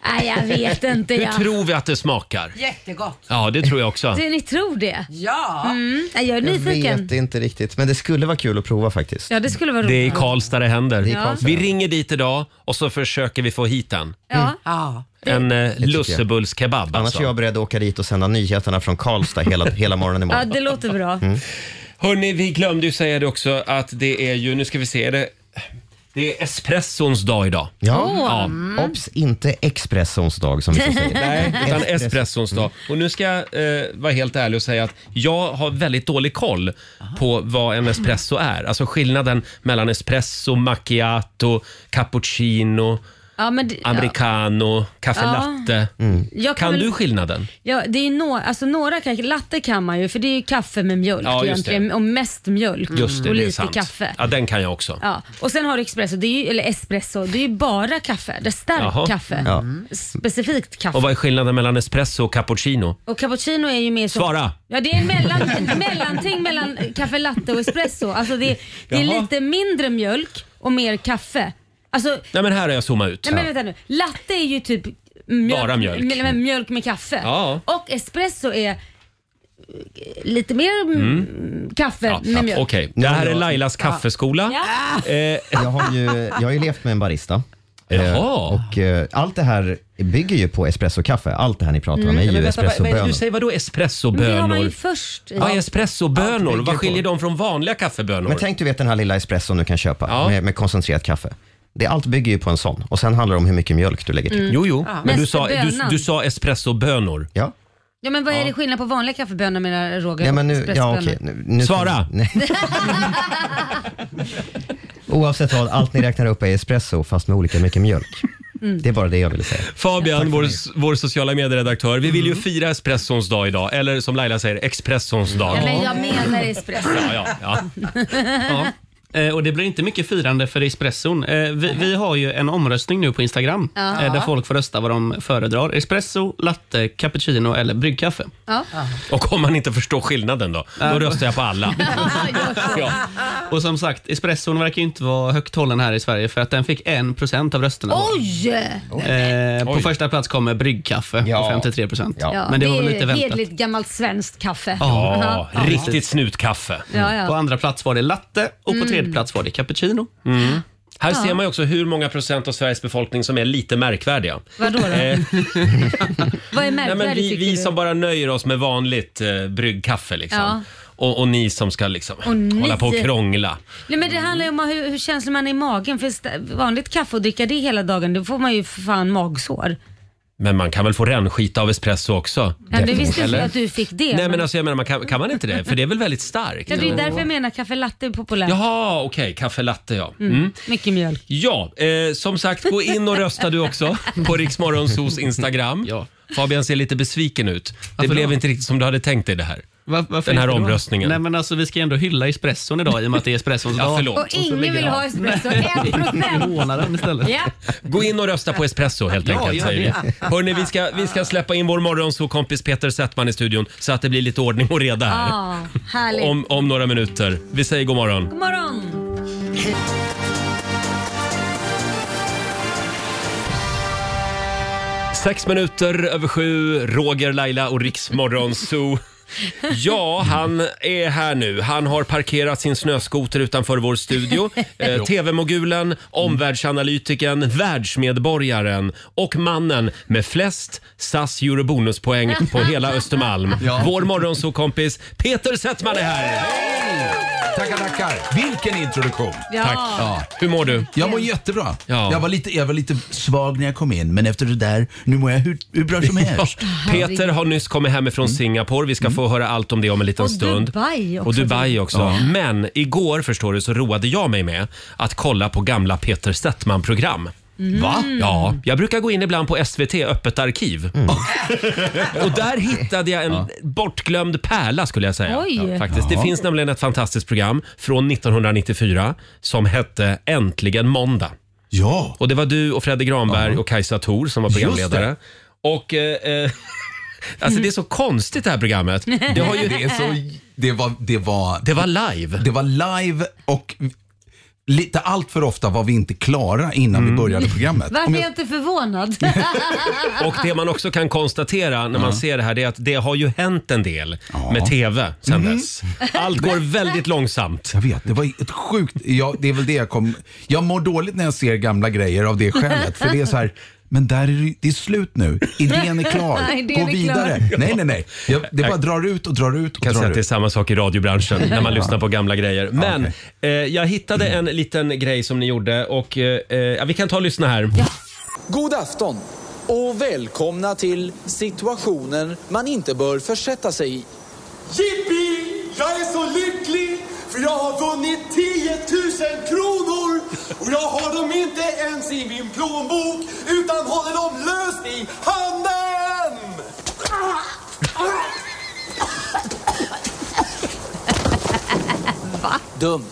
[SPEAKER 2] Nej, jag vet inte.
[SPEAKER 1] Hur
[SPEAKER 2] Jag.
[SPEAKER 1] tror vi att det smakar?
[SPEAKER 6] Jättegott.
[SPEAKER 1] Ja, det tror jag också.
[SPEAKER 2] Du, ni tror det?
[SPEAKER 6] Ja.
[SPEAKER 2] Mm. Nej, Jag är
[SPEAKER 8] Jag
[SPEAKER 2] nyfiken.
[SPEAKER 8] vet inte riktigt, men det skulle vara kul att prova faktiskt.
[SPEAKER 1] Eh,
[SPEAKER 2] Ja, det skulle vara
[SPEAKER 1] Det är i
[SPEAKER 2] roligt.
[SPEAKER 1] Karlstad det händer.
[SPEAKER 8] är i Karlstad.
[SPEAKER 1] Vi ringer dit idag och så försöker vi få hit en.
[SPEAKER 2] Ja.
[SPEAKER 6] Ja.
[SPEAKER 1] En eh,
[SPEAKER 8] jag.
[SPEAKER 1] lussebullskebab
[SPEAKER 8] Annars är
[SPEAKER 1] alltså.
[SPEAKER 8] jag beredd att åka dit och sända nyheterna från Karlstad hela, hela morgonen
[SPEAKER 2] ja,
[SPEAKER 8] imorgon. Mm.
[SPEAKER 2] det låter bra.
[SPEAKER 1] Mm. Hörni, vi glömde ju säga det också att det är ju, nu ska vi se, är det, det är espressons dag idag.
[SPEAKER 8] Ja.
[SPEAKER 1] Ja,
[SPEAKER 2] Mm.
[SPEAKER 8] Obs, inte Expressons dag som vi säger.
[SPEAKER 1] nej, utan espressons dag. Och nu ska jag eh, vara helt ärlig och säga att jag har väldigt dålig koll på vad en espresso är. Alltså skillnaden mellan espresso, macchiato, cappuccino,
[SPEAKER 2] Ja, men det, ja.
[SPEAKER 1] americano, kaffe
[SPEAKER 2] Ja.
[SPEAKER 1] latte.
[SPEAKER 8] Mm.
[SPEAKER 2] Jag
[SPEAKER 1] Kan
[SPEAKER 2] väl-
[SPEAKER 1] du skillnaden?
[SPEAKER 2] Ja, det är no, alltså några kan, latte kan man ju för det är ju kaffe med mjölk
[SPEAKER 1] Ja, just
[SPEAKER 2] egentligen
[SPEAKER 1] det.
[SPEAKER 2] och mest mjölk
[SPEAKER 1] Just
[SPEAKER 2] Mm.
[SPEAKER 1] det,
[SPEAKER 2] och
[SPEAKER 1] det är
[SPEAKER 2] lite
[SPEAKER 1] sant.
[SPEAKER 2] kaffe.
[SPEAKER 1] Ja, den kan jag också.
[SPEAKER 2] Ja. Och sen har du espresso, det är ju, eller espresso, det är ju bara kaffe. Det är starkt
[SPEAKER 1] Jaha.
[SPEAKER 2] kaffe. Specifikt kaffe.
[SPEAKER 1] Och
[SPEAKER 2] Och,
[SPEAKER 1] vad är skillnaden mellan espresso och cappuccino?
[SPEAKER 2] cappuccino är ju mer som...
[SPEAKER 1] Svara!
[SPEAKER 2] Ja, det är en mellan, en mellanting mellan kaffe latte och espresso. Alltså det, det är
[SPEAKER 1] Jaha.
[SPEAKER 2] lite mindre mjölk och mer kaffe. Alltså
[SPEAKER 1] Nej men här har jag zoomat ut.
[SPEAKER 2] Nej men vänta nu. Latte är ju typ mjölk,
[SPEAKER 1] Bara mjölk.
[SPEAKER 2] Med, med, mjölk med kaffe.
[SPEAKER 1] Ja.
[SPEAKER 2] Och espresso är eh, lite mer mm, kaffe
[SPEAKER 1] Ja,
[SPEAKER 2] med
[SPEAKER 1] ja,
[SPEAKER 2] mjölk.
[SPEAKER 1] Okej, det här är Lailas kaffeskola.
[SPEAKER 2] Ja.
[SPEAKER 1] Eh,
[SPEAKER 8] Jag har ju, jag har ju levt med en barista. Eh,
[SPEAKER 1] Jaha.
[SPEAKER 8] Och eh, allt det här bygger ju på espressokaffe. Allt det här ni pratar
[SPEAKER 2] Mm.
[SPEAKER 8] om är
[SPEAKER 1] men
[SPEAKER 8] ju
[SPEAKER 1] vänta, vad- vad är det
[SPEAKER 8] espressobönor.
[SPEAKER 1] du säger vadå
[SPEAKER 2] Men det har man ju
[SPEAKER 1] espressobönor?
[SPEAKER 2] först i.
[SPEAKER 1] Vad är
[SPEAKER 8] Allt
[SPEAKER 1] espressobönor?
[SPEAKER 8] bygger
[SPEAKER 1] Vad
[SPEAKER 8] på-
[SPEAKER 1] skiljer dem från vanliga kaffebönor?
[SPEAKER 8] Men tänk du vet den här lilla espresson du kan köpa
[SPEAKER 1] Ja.
[SPEAKER 8] med, med koncentrerat kaffe. Det, allt bygger ju på en sån. Och sen handlar det om hur mycket mjölk du lägger till.
[SPEAKER 1] Mm. Jo, jo, men du sa, du,
[SPEAKER 2] Espressobönan.
[SPEAKER 1] du sa espressobönor.
[SPEAKER 8] Ja.
[SPEAKER 2] Ja men vad är det skillnad på vanliga kaffebönor menar Roger?
[SPEAKER 8] Nej, men nu,
[SPEAKER 2] och
[SPEAKER 8] ja,
[SPEAKER 2] espressobönor?
[SPEAKER 8] okej. nu, nu
[SPEAKER 1] Svara!
[SPEAKER 8] Nej. Oavsett vad, allt ni räknar upp är espresso fast med olika mycket mjölk. Det är bara det jag ville säga.
[SPEAKER 1] Fabian, vår, vår sociala medieredaktör, vi vill ju
[SPEAKER 10] Mm.
[SPEAKER 1] fira espressons dag idag. Eller som Laila säger, expressons dag.
[SPEAKER 2] Ja, men jag menar espresso.
[SPEAKER 1] Ja, ja, ja.
[SPEAKER 10] Eh, Och det blir inte mycket firande för espresson. Eh, Vi, vi har ju en omröstning nu på Instagram
[SPEAKER 2] Ja.
[SPEAKER 10] eh, där folk får rösta vad de föredrar. Espresso, latte, cappuccino eller bryggkaffe.
[SPEAKER 2] Ja.
[SPEAKER 1] Och om man inte förstår skillnaden då, då röstar jag på alla. Ja.
[SPEAKER 10] Och som sagt, espresson verkar ju inte vara högt hållen här i Sverige för att den fick 1% av rösterna.
[SPEAKER 2] Oj!
[SPEAKER 10] Eh, på
[SPEAKER 1] Oj.
[SPEAKER 10] första plats kommer bryggkaffe
[SPEAKER 8] Ja.
[SPEAKER 10] på 53%.
[SPEAKER 2] Ja,
[SPEAKER 10] Men det var väl lite
[SPEAKER 2] är
[SPEAKER 10] väntat.
[SPEAKER 2] Hedligt gammalt svenskt kaffe.
[SPEAKER 1] Ja, riktigt snutkaffe.
[SPEAKER 2] Ja,
[SPEAKER 10] På
[SPEAKER 2] ja.
[SPEAKER 10] andra plats var det latte och på tredje
[SPEAKER 2] Mm.
[SPEAKER 10] plats var det cappuccino.
[SPEAKER 1] Mm. Här ser man ju också hur många procent av Sveriges befolkning som är lite märkvärdiga. Eh,
[SPEAKER 2] Vadå då? Vad är
[SPEAKER 1] Nej, men
[SPEAKER 2] märkvärdigt
[SPEAKER 1] vi,
[SPEAKER 2] tycker
[SPEAKER 1] vi
[SPEAKER 2] du?
[SPEAKER 1] som bara nöjer oss med vanligt eh, bryggkaffe liksom.
[SPEAKER 2] Ja.
[SPEAKER 1] Och, och ni som ska liksom
[SPEAKER 2] Och ni.
[SPEAKER 1] hålla på och krångla.
[SPEAKER 2] Nej, men det handlar ju om hur, hur känslig man är i magen. För st- vanligt kaffe och dricka det hela dagen, då får man ju för fan magsår.
[SPEAKER 1] Men man kan väl få rännskita av espresso också?
[SPEAKER 2] Ja, det visste
[SPEAKER 1] Eller?
[SPEAKER 2] inte att du fick det.
[SPEAKER 1] Nej men alltså jag menar, man kan, kan man inte det? För det är väl väldigt starkt?
[SPEAKER 2] Ja, det är därför jag menar kaffe latte är populärt.
[SPEAKER 1] Jaha, okej. Kaffe latte ja.
[SPEAKER 2] Mm.
[SPEAKER 1] Mm.
[SPEAKER 2] Mycket mjölk.
[SPEAKER 1] Ja, eh, som sagt, gå in och rösta du också på Riksmorgonsos Instagram. Fabian ser lite besviken ut. Det
[SPEAKER 10] Varför
[SPEAKER 1] blev
[SPEAKER 10] då?
[SPEAKER 1] inte riktigt som du hade tänkt dig det här.
[SPEAKER 10] Va- varför
[SPEAKER 1] Den här
[SPEAKER 10] inte då?
[SPEAKER 1] omröstningen.
[SPEAKER 10] Nej, men alltså, vi ska ändå hylla espresson idag i och med att det är espressons
[SPEAKER 1] Ja,
[SPEAKER 10] dag.
[SPEAKER 1] förlåt.
[SPEAKER 2] Och ingen vill ha espresso. En procent.
[SPEAKER 10] Månaden istället.
[SPEAKER 2] Ja.
[SPEAKER 1] Gå in och rösta på espresso helt
[SPEAKER 10] Ja,
[SPEAKER 1] enkelt
[SPEAKER 10] gör
[SPEAKER 1] säger vi.
[SPEAKER 10] det.
[SPEAKER 1] Hörrni, vi ska, vi ska släppa in vår morgonsåkompis Peter Settman i studion så att det blir lite ordning och reda här.
[SPEAKER 2] Ah, härligt.
[SPEAKER 1] Om, om några minuter. Vi säger god morgon.
[SPEAKER 2] God morgon.
[SPEAKER 1] Sex minuter över sju, Roger, Laila och Riksmorgon Zoo. Ja, han är här nu. Han har parkerat sin snöskoter utanför vår studio. Eh,
[SPEAKER 10] Jo.
[SPEAKER 11] Mm.
[SPEAKER 1] TV-mogulen, omvärldsanalytikern, världsmedborgaren och mannen med flest SAS Eurobonuspoäng på hela Östermalm. Vår morgonsokompis Peter Settman är här!
[SPEAKER 11] Tackar, tackar. Vilken introduktion.
[SPEAKER 2] Ja. Tack.
[SPEAKER 1] Hur mår du?
[SPEAKER 11] Jag mår jättebra. Jag, var lite, jag var lite svag när jag kom in, men efter det där, nu mår jag hur, hur bra som helst.
[SPEAKER 1] Peter har nyss kommit hem ifrån Singapore. Vi ska få höra allt om det om en liten
[SPEAKER 2] Mm. Och
[SPEAKER 1] stund.
[SPEAKER 2] Dubai också.
[SPEAKER 1] Och Dubai också.
[SPEAKER 2] Ja.
[SPEAKER 1] Men igår förstår du så roade jag mig med att kolla på gamla Peter Settman-program.
[SPEAKER 2] Mm. Va?
[SPEAKER 1] Ja, jag brukar gå in ibland på SVT Öppet arkiv. Och där hittade jag en bortglömd pärla skulle jag säga.
[SPEAKER 2] Oj.
[SPEAKER 1] Ja, Faktiskt. Det
[SPEAKER 2] Ja.
[SPEAKER 1] finns nämligen ett fantastiskt program från 1994 som hette Äntligen måndag.
[SPEAKER 11] Ja.
[SPEAKER 1] Och det var du och Fredrik Granberg och Kajsa Thor som var
[SPEAKER 11] Just det.
[SPEAKER 1] programledare. Och... Eh, eh, Alltså det är så konstigt det här programmet. Det, har ju...
[SPEAKER 11] det, är så, det, var, det, var,
[SPEAKER 1] det var live.
[SPEAKER 11] Det var live och lite allt för ofta var vi inte klara innan vi
[SPEAKER 1] Mm.
[SPEAKER 11] började programmet.
[SPEAKER 2] Varför är jag inte förvånad?
[SPEAKER 1] Och det man också kan konstatera när man ser det här det är att det har ju hänt en del med TV sen
[SPEAKER 11] Mm.
[SPEAKER 1] dess. Allt går väldigt långsamt.
[SPEAKER 11] Jag vet, det var ett sjukt... Jag, det är väl det jag kom... Jag mår dåligt när jag ser gamla grejer av det skälet. För det är så här, men där är det, det är slut nu. Idén är klar.
[SPEAKER 1] Idén
[SPEAKER 11] Gå
[SPEAKER 1] är
[SPEAKER 11] vidare.
[SPEAKER 1] klar.
[SPEAKER 11] Nej, nej, nej. Jag, det bara drar ut och drar ut och
[SPEAKER 1] kan
[SPEAKER 11] drar
[SPEAKER 1] säga att
[SPEAKER 11] ut.
[SPEAKER 1] det är samma sak i radiobranschen när man
[SPEAKER 11] Ja. Mm.
[SPEAKER 1] lyssnar på gamla grejer. Men eh, jag hittade en liten grej som ni gjorde och eh, eh, ja, vi kan ta och lyssna här.
[SPEAKER 12] God afton och välkomna till situationer man inte bör försätta sig i.
[SPEAKER 13] Jippi! Jag är så lycklig för jag har vunnit 10 000 kronor och jag har dem inte ens i min plånbok utan håller dem löst i handen!
[SPEAKER 12] Dumt.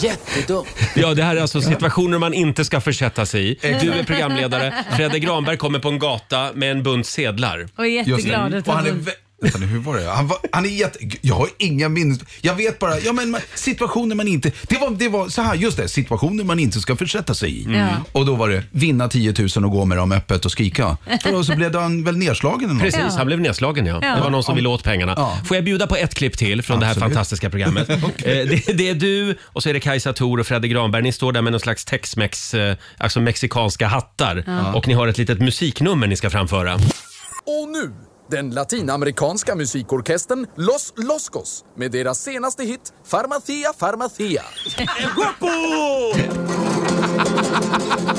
[SPEAKER 12] Jättedumt.
[SPEAKER 1] Ja, det här är alltså situationer man inte ska försätta sig i. Du är programledare, Fredrik Granberg kommer på en gata med en bunt sedlar.
[SPEAKER 2] Och är jätteglad
[SPEAKER 11] Just
[SPEAKER 2] att
[SPEAKER 11] det. Och
[SPEAKER 2] ha
[SPEAKER 11] han är
[SPEAKER 2] vunnit.
[SPEAKER 11] vä- Vänta nu, hur var det? Han, var, han är jätte... Jag har inga minnen. Jag vet bara, ja men man- situationer man inte... Det var, det var så här, just det, situationer man inte ska försätta sig i.
[SPEAKER 2] Mm.
[SPEAKER 1] Ja.
[SPEAKER 11] Och då var det vinna 10 000 och gå med dem öppet och skrika. Och så blev han väl nedslagen eller något.
[SPEAKER 1] Precis, han blev nedslagen ja.
[SPEAKER 11] Ja.
[SPEAKER 1] Det var någon som
[SPEAKER 11] Mm. Ja.
[SPEAKER 1] ville åt pengarna. Får jag bjuda på ett klipp till från det här
[SPEAKER 11] Absolut.
[SPEAKER 1] fantastiska programmet? Eh, det, det är du och så är det Kajsa Thor och Fredrik Granberg. Ni står där med någon slags tex-mex, eh, alltså mexikanska hattar.
[SPEAKER 12] Ja.
[SPEAKER 1] Och ni har ett litet musiknummer ni ska framföra.
[SPEAKER 12] Och nu, den latinamerikanska musikorkestern Los Loscos med deras senaste hit Farmacia Farmacia.
[SPEAKER 13] El guapo!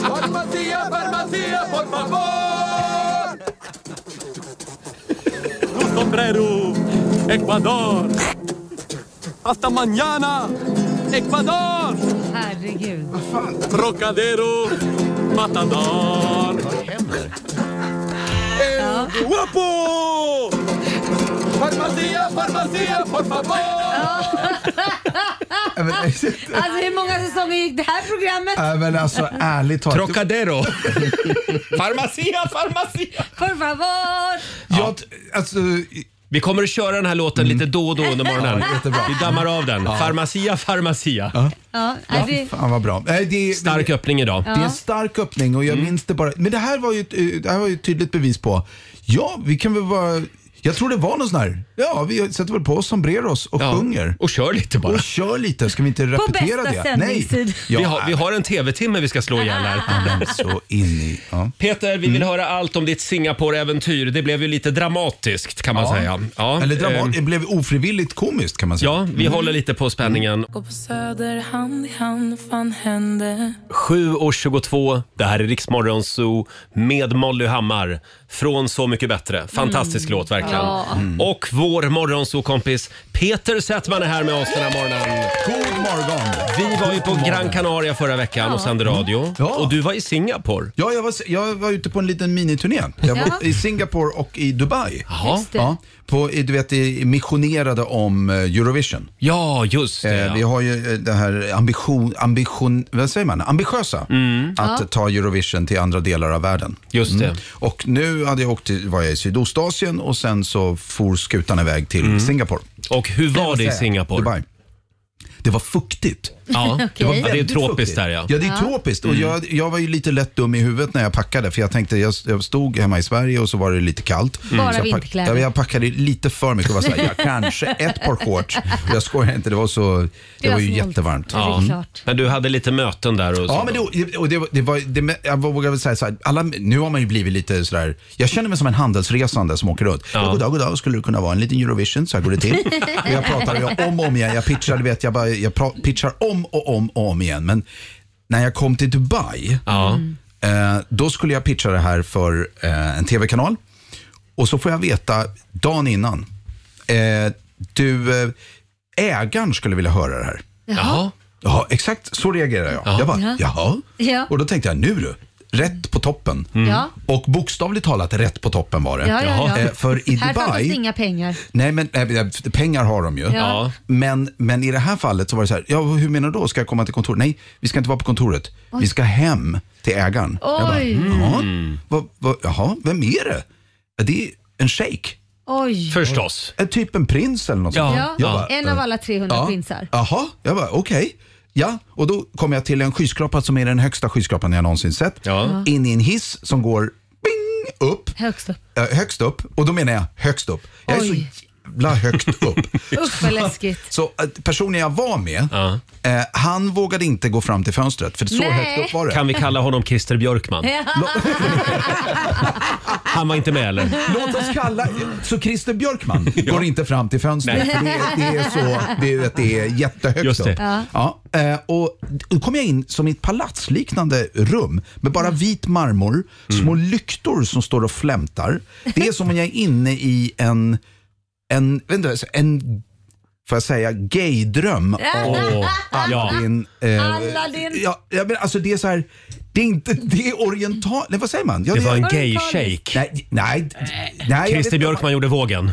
[SPEAKER 13] Farmacia, farmacia, por favor! Un sombrero, Ecuador! Hasta mañana, Ecuador!
[SPEAKER 2] Herregud.
[SPEAKER 13] Trocadero, Matador! El guapo! Farmacia, farmacia, por favor!
[SPEAKER 2] Alltså hur många säsonger gick det här programmet?
[SPEAKER 11] Äh, men alltså ärligt talat.
[SPEAKER 1] Trocadero.
[SPEAKER 2] Farmacia, farmacia! Por favor!
[SPEAKER 11] Ja. Alltså,
[SPEAKER 1] vi kommer att köra den här låten lite då och då under morgonen.
[SPEAKER 11] Ja, jättebra.
[SPEAKER 1] vi dammar av den. Farmacia, farmacia.
[SPEAKER 2] Ja, är det...
[SPEAKER 11] Fan vad bra. Nej, det,
[SPEAKER 1] Stark öppning idag.
[SPEAKER 11] Det är en stark
[SPEAKER 1] Mm.
[SPEAKER 11] öppning och jag minns det bara. Men det här var ju, ett, eh, det här var ju ett tydligt bevis på, ja vi kan väl vara Jag tror det var någon sån här, ja vi sätter väl på oss sombreros och sjunger.
[SPEAKER 1] Och kör lite bara.
[SPEAKER 11] Och kör lite, ska vi inte repetera det?
[SPEAKER 2] bästa sändningstid.
[SPEAKER 11] Ja,
[SPEAKER 1] Vi, har, vi har en tv-timme vi ska slå ihjäl här.
[SPEAKER 11] så in i, ja. Mm.
[SPEAKER 1] Peter, vi vill höra allt om ditt Singapore-äventyr. Det blev ju lite dramatiskt kan man
[SPEAKER 11] Ja.
[SPEAKER 1] säga. Ehm.
[SPEAKER 11] Eller Mm. dramat- det
[SPEAKER 1] blev
[SPEAKER 11] ofrivilligt komiskt kan man
[SPEAKER 1] säga. Ja, vi håller lite på spänningen.
[SPEAKER 14] Gå på Söder hand i hand, fan hände?
[SPEAKER 1] 7.22, det här är Riksmorgon Zoo med Molly Hammar från Så mycket bättre. Fantastisk
[SPEAKER 14] Mm.
[SPEAKER 1] låt verkligen.
[SPEAKER 14] Ja. Mm.
[SPEAKER 1] Och vår morgonzoo-kompis Peter Settman är här med oss den här morgonen.
[SPEAKER 11] God morgon!
[SPEAKER 1] Vi var ju på
[SPEAKER 11] morgon.
[SPEAKER 1] Gran Canaria förra veckan och sände radio. Och du var i Singapore.
[SPEAKER 11] Ja, jag var, jag var ute på en liten miniturné. Jag var
[SPEAKER 1] Ja.
[SPEAKER 11] i Singapore och i Dubai.
[SPEAKER 1] Jaha. Just det.
[SPEAKER 11] Ja, på, i- du vet, i- missionerade om eh, Eurovision.
[SPEAKER 1] Ja, just
[SPEAKER 11] det. Vi har ju eh, det här ambition, ambition, vad säger man? ambitiösa att
[SPEAKER 1] Ja.
[SPEAKER 11] ta Eurovision till andra delar av världen.
[SPEAKER 1] Mm.
[SPEAKER 11] Mm.
[SPEAKER 1] Just det.
[SPEAKER 11] Och nu hade jag åkt till, var jag i Sydostasien och sen så for skutan iväg till Singapore.
[SPEAKER 1] Mm. Och hur var
[SPEAKER 11] Eller
[SPEAKER 1] det i
[SPEAKER 11] vad säger jag?
[SPEAKER 1] Singapore?
[SPEAKER 11] Dubai. Det var fuktigt.
[SPEAKER 1] Ja. Okej.
[SPEAKER 11] var
[SPEAKER 1] Ja, det är
[SPEAKER 11] väldigt
[SPEAKER 1] tropiskt
[SPEAKER 11] fuktigt.
[SPEAKER 1] där, ja.
[SPEAKER 11] Ja, det är
[SPEAKER 1] Ja.
[SPEAKER 11] tropiskt. Och
[SPEAKER 1] Mm.
[SPEAKER 11] jag, jag var ju lite lätt dum i huvudet när jag packade. För jag tänkte, jag, jag stod hemma i Sverige och så var det lite kallt.
[SPEAKER 2] Bara
[SPEAKER 11] Så jag pack-
[SPEAKER 2] vinterkläder.
[SPEAKER 11] Ja, jag packade lite för mycket. Det var så här, jag kanske ett par shorts. Jag skojar inte, det var, så, det var ju
[SPEAKER 1] snålt.
[SPEAKER 11] jättevarmt.
[SPEAKER 1] Ja. Men du hade lite möten där och
[SPEAKER 11] Ja, men det, och det, var- det var, det, jag vågar väl säga så här, alla, nu har man ju blivit lite sådär, jag känner mig som en handelsresande som åker runt. Ja. Goddag, goddag, skulle det kunna vara en liten Eurovision? Så här går det till. och jag pratar jag, om och om igen, jag pitchar, du vet, jag, bara, jag pra, pitchar om och om och om igen. Men när jag kom till Dubai, eh, då skulle jag pitcha det här för eh, en tv-kanal. Och så får jag veta dagen innan, eh, du, eh, ägaren skulle vilja höra det här.
[SPEAKER 1] Jaha.
[SPEAKER 11] Ja, exakt så reagerar jag. Jag bara,
[SPEAKER 2] Ja.
[SPEAKER 11] jaha?
[SPEAKER 2] Ja. Mm.
[SPEAKER 11] Och då tänkte jag, nu du. Rätt på toppen.
[SPEAKER 2] Ja.
[SPEAKER 11] Och bokstavligt talat rätt på toppen var det.
[SPEAKER 2] Ja, ja, ja.
[SPEAKER 11] Eh, För i
[SPEAKER 2] Här fattas det
[SPEAKER 11] Dubai,
[SPEAKER 2] inga pengar.
[SPEAKER 11] nej men nej, men, pengar har de ju.
[SPEAKER 2] Ja.
[SPEAKER 11] Men, men i det här fallet så var det så här, ja, hur menar du då? Ska jag komma till kontoret? Nej, vi ska inte vara på kontoret.
[SPEAKER 2] Oj.
[SPEAKER 11] Vi ska hem till ägaren. Jag bara,
[SPEAKER 2] Oj.
[SPEAKER 11] jaha,
[SPEAKER 2] Mm.
[SPEAKER 11] vad, vad, jaha, vem är det? Ja, Det är en shejk.
[SPEAKER 2] Oj.
[SPEAKER 11] En typ en prins eller något sånt.
[SPEAKER 2] Ja.
[SPEAKER 11] Jag bara,
[SPEAKER 2] en av
[SPEAKER 11] eh,
[SPEAKER 2] alla 300
[SPEAKER 11] ja.
[SPEAKER 2] prinsar.
[SPEAKER 11] Jaha, jag bara okej. Ja, och då kom jag till en skyskrapa som är den högsta skyskrapan jag någonsin sett.
[SPEAKER 2] Ja.
[SPEAKER 11] In i en hiss som går bing, upp,
[SPEAKER 2] Högst upp.
[SPEAKER 11] eh, högst upp. Och då menar jag högst upp. Jag är
[SPEAKER 2] Oj.
[SPEAKER 11] så jävla högt upp.
[SPEAKER 2] Usch vad läskigt.
[SPEAKER 11] Så eh, personen jag var med, eh, han vågade inte gå fram till fönstret för så
[SPEAKER 2] Nej.
[SPEAKER 11] högt upp var det.
[SPEAKER 1] Kan vi kalla honom Christer Björkman? Han var inte med eller?
[SPEAKER 11] Låt oss kalla... Så Christer Björkman går inte fram till fönstret.
[SPEAKER 1] Nej.
[SPEAKER 11] För det, är- det, är så, det, är, det är jättehögt
[SPEAKER 1] Just det.
[SPEAKER 11] upp. Ja. eh, och då kom jag in som i ett palatsliknande rum med bara vit marmor,
[SPEAKER 1] Mm.
[SPEAKER 11] små lyktor som står och flämtar. Det är som om jag är inne i en, en, vänta, en får jag säga, gaydröm av
[SPEAKER 2] Åh, ja.
[SPEAKER 11] Aladdin. eh,
[SPEAKER 2] Aladdin.
[SPEAKER 11] Ja, ja, men alltså det är så här, det är inte, det är oriental, nej vad säger man? Ja,
[SPEAKER 1] Det var en
[SPEAKER 11] orientaliskt.
[SPEAKER 1] gay-shake.
[SPEAKER 11] Nej, nej, nej. jag vet
[SPEAKER 1] Christer
[SPEAKER 11] inte.
[SPEAKER 1] Björkman gjorde vågen.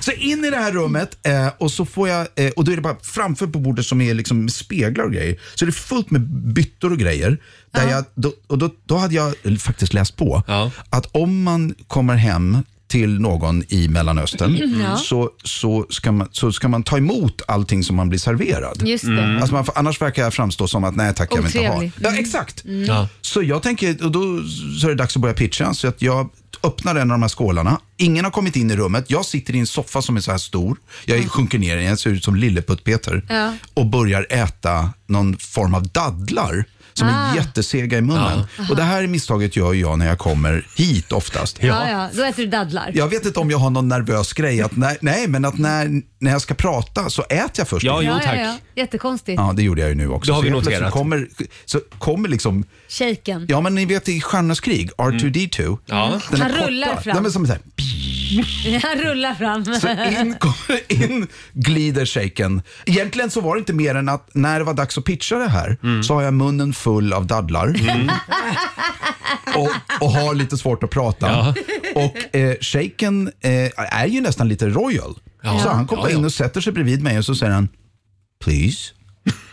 [SPEAKER 11] Så in i det här rummet eh, och så får jag, eh, och då är det bara framför på bordet som är liksom med speglar och grejer. Så är det fullt med byttor och grejer. Där jag, då, och då, då hade jag faktiskt läst på att om man kommer hem till någon i Mellanöstern
[SPEAKER 2] Mm. Ja.
[SPEAKER 11] så, så, ska man, så ska man ta emot allting som man blir serverad.
[SPEAKER 2] Just det. Mm.
[SPEAKER 11] Alltså man, får- annars verkar jag framstå som att nej tack, jag vill inte ha.
[SPEAKER 2] Otrevlig.
[SPEAKER 11] Ja, exakt.
[SPEAKER 2] Mm. Ja.
[SPEAKER 11] Så jag tänker, och då så är det dags att börja pitcha. Så att jag öppnar en av de här skålarna. Ingen har kommit in i rummet. Jag sitter i en soffa som är så här stor. Jag sjunker ner, jag ser ut som Lilleputt-Peter.
[SPEAKER 2] Mm. Ja.
[SPEAKER 11] Och börjar äta någon form av dadlar som
[SPEAKER 2] Ah.
[SPEAKER 11] är jättesega i munnen. Och det här misstaget gör jag när jag kommer hit oftast.
[SPEAKER 2] Ja, ja. Då äter du dadlar.
[SPEAKER 11] Jag vet inte om jag har någon nervös grej. Att när, nej, men att när, när jag ska prata så äter jag först.
[SPEAKER 2] Ja, ja. Jättekonstigt.
[SPEAKER 11] Ja, det gjorde jag ju nu också.
[SPEAKER 1] Det har vi
[SPEAKER 11] så helt plötsligt
[SPEAKER 1] noterat.
[SPEAKER 11] Kommer, så kommer liksom
[SPEAKER 2] Shaken.
[SPEAKER 11] Ja, men ni vet i Stjärnornas krig, R2D2.
[SPEAKER 2] Mm. Ja.
[SPEAKER 11] Den
[SPEAKER 2] Han
[SPEAKER 11] är korta.
[SPEAKER 2] rullar fram.
[SPEAKER 11] Nej, men som så här,
[SPEAKER 2] Han rullar fram.
[SPEAKER 11] så in, kommer in glider shaken. Egentligen så var det inte mer än att när det var dags att pitcha det här
[SPEAKER 2] Mm.
[SPEAKER 11] så har jag munnen full av dadlar och, och har lite svårt att prata. Och eh, shaken eh, är ju nästan lite royal.
[SPEAKER 2] Ja.
[SPEAKER 11] Så han kommer
[SPEAKER 2] Ja, ja.
[SPEAKER 11] in och sätter sig bredvid mig och så säger han “please”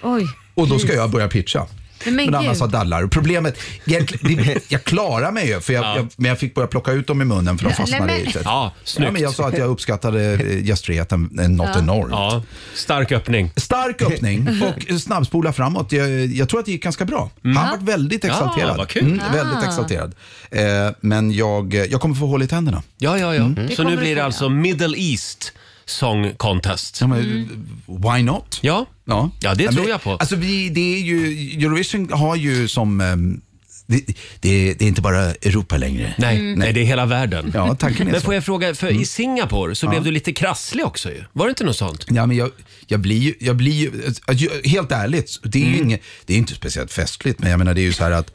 [SPEAKER 2] Oj.
[SPEAKER 11] och då ska jag börja pitcha.
[SPEAKER 2] Men
[SPEAKER 11] men
[SPEAKER 2] gud.
[SPEAKER 11] annars har dadlar. Problemet, egentligen- det, jag klarar mig ju, för jag, jag, men jag fick börja plocka ut dem i munnen för de
[SPEAKER 2] Nej,
[SPEAKER 11] fastnade
[SPEAKER 2] men-
[SPEAKER 11] i ytet.
[SPEAKER 2] Ja, snyggt.
[SPEAKER 11] men jag sa att jag uppskattade eh, gästfriheten eh, något
[SPEAKER 2] Ja.
[SPEAKER 11] enormt.
[SPEAKER 1] Stark öppning.
[SPEAKER 11] Stark öppning och snabbspola framåt. Jag, jag tror att det gick ganska bra. Han var väldigt
[SPEAKER 1] Mm. Ja,
[SPEAKER 11] exalterad.
[SPEAKER 1] vad kul.
[SPEAKER 11] Mm,
[SPEAKER 1] Ah.
[SPEAKER 11] Väldigt exalterad. Eh, men jag, jag kommer få hål i tänderna.
[SPEAKER 1] Ja, ja, ja.
[SPEAKER 11] Mm. Det
[SPEAKER 1] Så nu
[SPEAKER 11] kommer
[SPEAKER 1] blir
[SPEAKER 11] du
[SPEAKER 1] det
[SPEAKER 11] få
[SPEAKER 1] alltså Middle East Song Contest.
[SPEAKER 11] Ja, men, Why not?
[SPEAKER 1] Ja,
[SPEAKER 11] ja.
[SPEAKER 1] ja det
[SPEAKER 11] Men
[SPEAKER 1] tror
[SPEAKER 11] vi-
[SPEAKER 1] jag på.
[SPEAKER 11] Alltså, vi, det är ju, Eurovision har ju som... ehm, Det, det, det är inte bara Europa längre. Mm.
[SPEAKER 1] Nej, nej, det är hela världen.
[SPEAKER 11] Ja, Mm. tanken är
[SPEAKER 1] Men
[SPEAKER 11] så.
[SPEAKER 1] får jag fråga, för i Singapore så blev du lite krasslig också ju. Var det inte något sånt?
[SPEAKER 11] Ja, men jag, jag blir ju, jag blir ju, alltså, jag- helt ärligt, det är ju
[SPEAKER 1] Mm.
[SPEAKER 11] inget, det är inte speciellt festligt, men jag menar det är ju så här att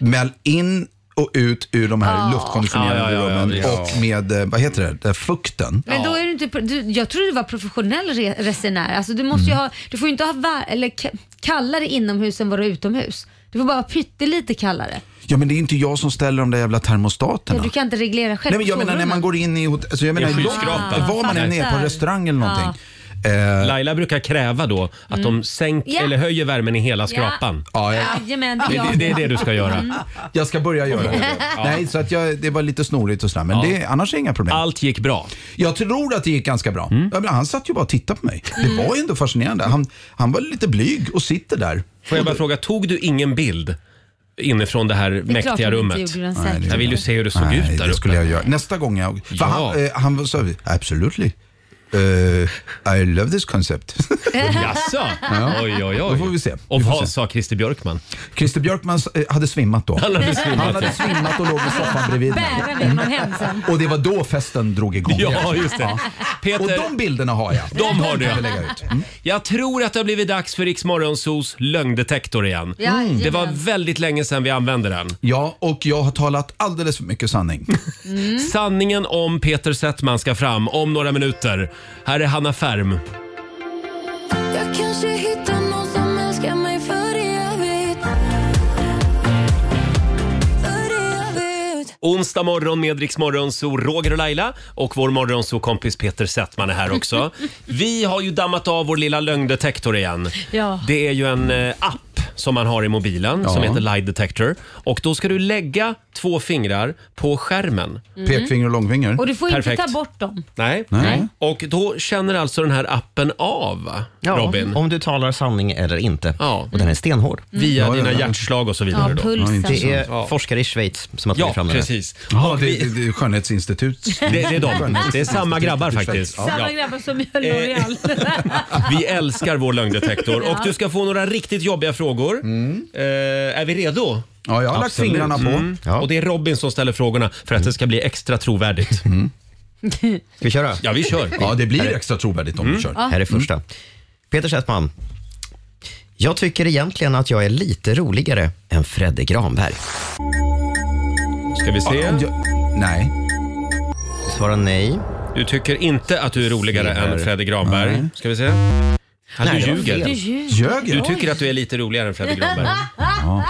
[SPEAKER 11] mäl in och ut ur de här
[SPEAKER 2] Ja.
[SPEAKER 11] luftkonditionerade
[SPEAKER 1] Ja, ja, ja,
[SPEAKER 11] rummen
[SPEAKER 1] ja.
[SPEAKER 11] och med, eh, vad heter det, den här fukten.
[SPEAKER 2] Men då är du inte, du, jag tror du var professionell re, resenär. Alltså du,
[SPEAKER 1] Mm.
[SPEAKER 2] måste ju ha, du får ju inte ha var, eller ka- kallare inomhus än vad du är utomhus. Du får bara ha pyttelite kallare.
[SPEAKER 11] Ja, men det är inte jag som ställer de där jävla
[SPEAKER 2] Ja,
[SPEAKER 11] termostaterna.
[SPEAKER 2] du kan inte reglera själv
[SPEAKER 11] Nej, men jag menar när man går in i hot- alltså, jag menar,
[SPEAKER 1] I en
[SPEAKER 11] de-
[SPEAKER 1] skyskrapa.
[SPEAKER 11] Var man än är på en restaurang eller någonting. eh,
[SPEAKER 1] Laila brukar kräva då att
[SPEAKER 2] Mm.
[SPEAKER 1] de sänker
[SPEAKER 2] Ja.
[SPEAKER 1] eller höjer värmen i hela
[SPEAKER 2] Ja.
[SPEAKER 1] skrapan.
[SPEAKER 11] Ja,
[SPEAKER 2] Jajamän, det,
[SPEAKER 1] Det,
[SPEAKER 2] är jag.
[SPEAKER 1] det, det är det du ska göra.
[SPEAKER 2] Mm.
[SPEAKER 11] Jag ska börja göra det.
[SPEAKER 1] Ja.
[SPEAKER 11] Nej, så att jag, det var lite snorigt och sådär. Men det, annars är det inga problem.
[SPEAKER 1] Allt gick bra. Mm.
[SPEAKER 11] Jag tror att det gick ganska bra. Ja, men han satt ju bara och tittade på mig. Det var ju ändå fascinerande. Han, han var lite blyg och sitter där.
[SPEAKER 1] Får jag bara fråga, tog du ingen bild inifrån det här
[SPEAKER 11] klart
[SPEAKER 1] mäktiga
[SPEAKER 11] hon inte
[SPEAKER 1] rummet?
[SPEAKER 11] gjorde, den Nej, säkert.
[SPEAKER 1] jag vill ju se hur det såg
[SPEAKER 11] Nej,
[SPEAKER 1] ut där
[SPEAKER 11] det
[SPEAKER 1] uppe.
[SPEAKER 11] skulle jag göra. Nästa gång jag... För
[SPEAKER 1] Ja.
[SPEAKER 11] han, eh, han sa absolutely. Uh, I love this concept.
[SPEAKER 1] Jaså?
[SPEAKER 11] Ja.
[SPEAKER 1] Oj, oj,
[SPEAKER 11] Då
[SPEAKER 1] oj.
[SPEAKER 11] får vi se.
[SPEAKER 1] Och
[SPEAKER 11] Vi får
[SPEAKER 1] vad
[SPEAKER 11] se.
[SPEAKER 1] sa Christer Björkman?
[SPEAKER 11] Christer Björkman eh, hade svimmat då.
[SPEAKER 1] Han hade svimmat,
[SPEAKER 11] Han hade
[SPEAKER 1] ja.
[SPEAKER 11] svimmat och låg i soffan bredvid
[SPEAKER 2] Bära med honom hem sen.
[SPEAKER 11] Och det var då festen drog igång.
[SPEAKER 1] Ja, just det. Peter,
[SPEAKER 11] Och de bilderna har jag.
[SPEAKER 1] De har Mm.
[SPEAKER 11] kan vi
[SPEAKER 1] du.
[SPEAKER 11] lägga ut.
[SPEAKER 1] Jag tror att det har blivit dags för Rix Morgonzos lögndetektor igen.
[SPEAKER 2] Ja, Mm.
[SPEAKER 1] Det var
[SPEAKER 2] jajamän.
[SPEAKER 1] väldigt länge sedan vi använde den.
[SPEAKER 11] Ja, och jag har talat alldeles för mycket sanning.
[SPEAKER 2] Mm.
[SPEAKER 1] Sanningen om Peter Settman ska fram om några minuter. Här är Hanna Färm.
[SPEAKER 7] Jag kanske hittar någon som älskar mig för evigt För evigt
[SPEAKER 1] Onsdag morgon med Rix Morgonzoo, Roger och Laila och vår morgonzoo-kompis Peter Settman är här också. Vi har ju dammat av vår lilla lögndetektor igen.
[SPEAKER 2] Ja.
[SPEAKER 1] Det är ju en eh, app som man har i mobilen som heter Lie Detector. Och då ska du lägga två fingrar på skärmen.
[SPEAKER 2] Mm. Pekfinger
[SPEAKER 11] och långfinger.
[SPEAKER 2] Och du får
[SPEAKER 1] Perfekt.
[SPEAKER 2] inte ta bort dem.
[SPEAKER 1] Nej.
[SPEAKER 2] Nej.
[SPEAKER 1] Och då känner alltså den här appen av va,
[SPEAKER 8] Ja,
[SPEAKER 1] Robin?
[SPEAKER 8] om du talar sanning eller inte.
[SPEAKER 1] Ja.
[SPEAKER 8] Och den är stenhård.
[SPEAKER 1] Mm. Via dina hjärtslag och så vidare Ja, då. pulsen.
[SPEAKER 8] det är
[SPEAKER 1] Ja.
[SPEAKER 8] forskare i Schweiz som har tagit
[SPEAKER 1] Ja,
[SPEAKER 8] fram den här.
[SPEAKER 1] precis.
[SPEAKER 11] Ja, det, det, det är skönhetsinstitut.
[SPEAKER 1] Det- det är de. Det är samma grabbar faktiskt.
[SPEAKER 11] Ja.
[SPEAKER 2] Samma
[SPEAKER 1] Ja. Eh,
[SPEAKER 2] grabbar som gör L'Oreal.
[SPEAKER 1] Vi älskar vår lögndetektor
[SPEAKER 2] Ja.
[SPEAKER 1] och du ska få några riktigt jobbiga frågor. Eh, är vi redo?
[SPEAKER 11] Mm. Ja, jag har lagt fingrarna på. Mm. Ja.
[SPEAKER 1] Och det är Robin som ställer frågorna för att det ska bli extra trovärdigt.
[SPEAKER 8] Ska Mm. vi köra?
[SPEAKER 1] Ja, vi kör.
[SPEAKER 11] Mm.
[SPEAKER 1] Mm.
[SPEAKER 11] Ja, det blir
[SPEAKER 8] Här är-
[SPEAKER 11] extra trovärdigt om du kör.
[SPEAKER 8] Här är första. Peter Settman. Jag tycker egentligen att jag är lite roligare än Fredde Granberg.
[SPEAKER 1] Ska vi se?
[SPEAKER 8] Ja, om
[SPEAKER 11] Nej.
[SPEAKER 8] Svara nej.
[SPEAKER 1] Du tycker inte att du är roligare
[SPEAKER 8] Ser.
[SPEAKER 1] än Fredde Granberg.
[SPEAKER 8] Nej.
[SPEAKER 1] Ska vi se? Ja,
[SPEAKER 8] Nej,
[SPEAKER 1] du
[SPEAKER 8] det var
[SPEAKER 1] ljuger.
[SPEAKER 8] fel. Du ljuger.
[SPEAKER 1] Du tycker att du är lite roligare än Fredde Granberg.